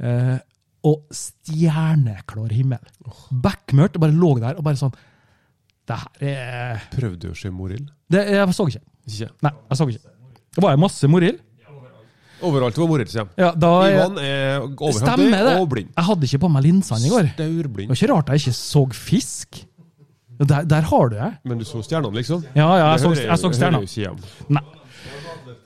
A: eh, og stjerneklar himmel. Bekmørkt, og bare lå der og bare sånn Det her er
B: Prøvde du å se Morild?
A: det, Jeg så ikke.
B: Ikke.
A: Nei, jeg så ikke. Det var jo masse morild.
B: Overalt var Morild, sier de.
A: Ja, da
B: Ivan er overhendig
A: Stemmer det.
B: og blind.
A: Jeg hadde ikke på meg linsene i går. Det
B: Staurblind.
A: var ikke rart jeg ikke så fisk. Der, der har du det.
B: Men du så stjernene, liksom?
A: Ja, ja, jeg
B: Det
A: så,
B: hører
A: jeg så
B: hører
A: stjerna.
B: jo ikke hjem.
A: Nei.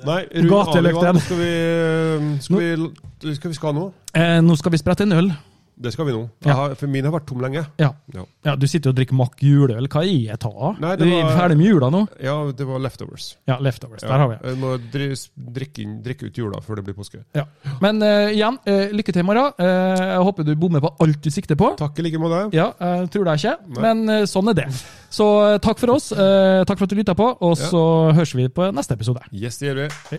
B: Nei, rund
A: Gatelykten.
B: av, Ivan. Skal vi eh, Skal vi, skal vi skal nå?
A: Eh, nå skal vi sprette en øl.
B: Det skal vi nå.
A: Ja.
B: Jeg har, for min har vært tom lenge.
A: Ja.
B: Ja,
A: ja, du sitter og drikker Mack juleøl. Hva er jeg ta av?
B: Nei,
A: Vi
B: det
A: er
B: var-
A: ferdig med jula nå.
B: ja det var leftovers.
A: Ja, leftovers.
B: Ja.
A: Der har vi det.
B: Jeg må dri, drikke, inn, drikke ut jula før det blir påske.
A: Ja. Men eh, igjen, eh, lykke til i morgen. Eh, jeg håper du bommer på alt du sikter på.
B: Takk i like måte.
A: Ja, jeg tror det ikke,
B: Nei.
A: men eh, sånn er det. Så eh, takk for oss. eh, takk for at du lytta på, og
B: Ja.
A: så høres vi på neste episode.
B: Yes, det gjør vi.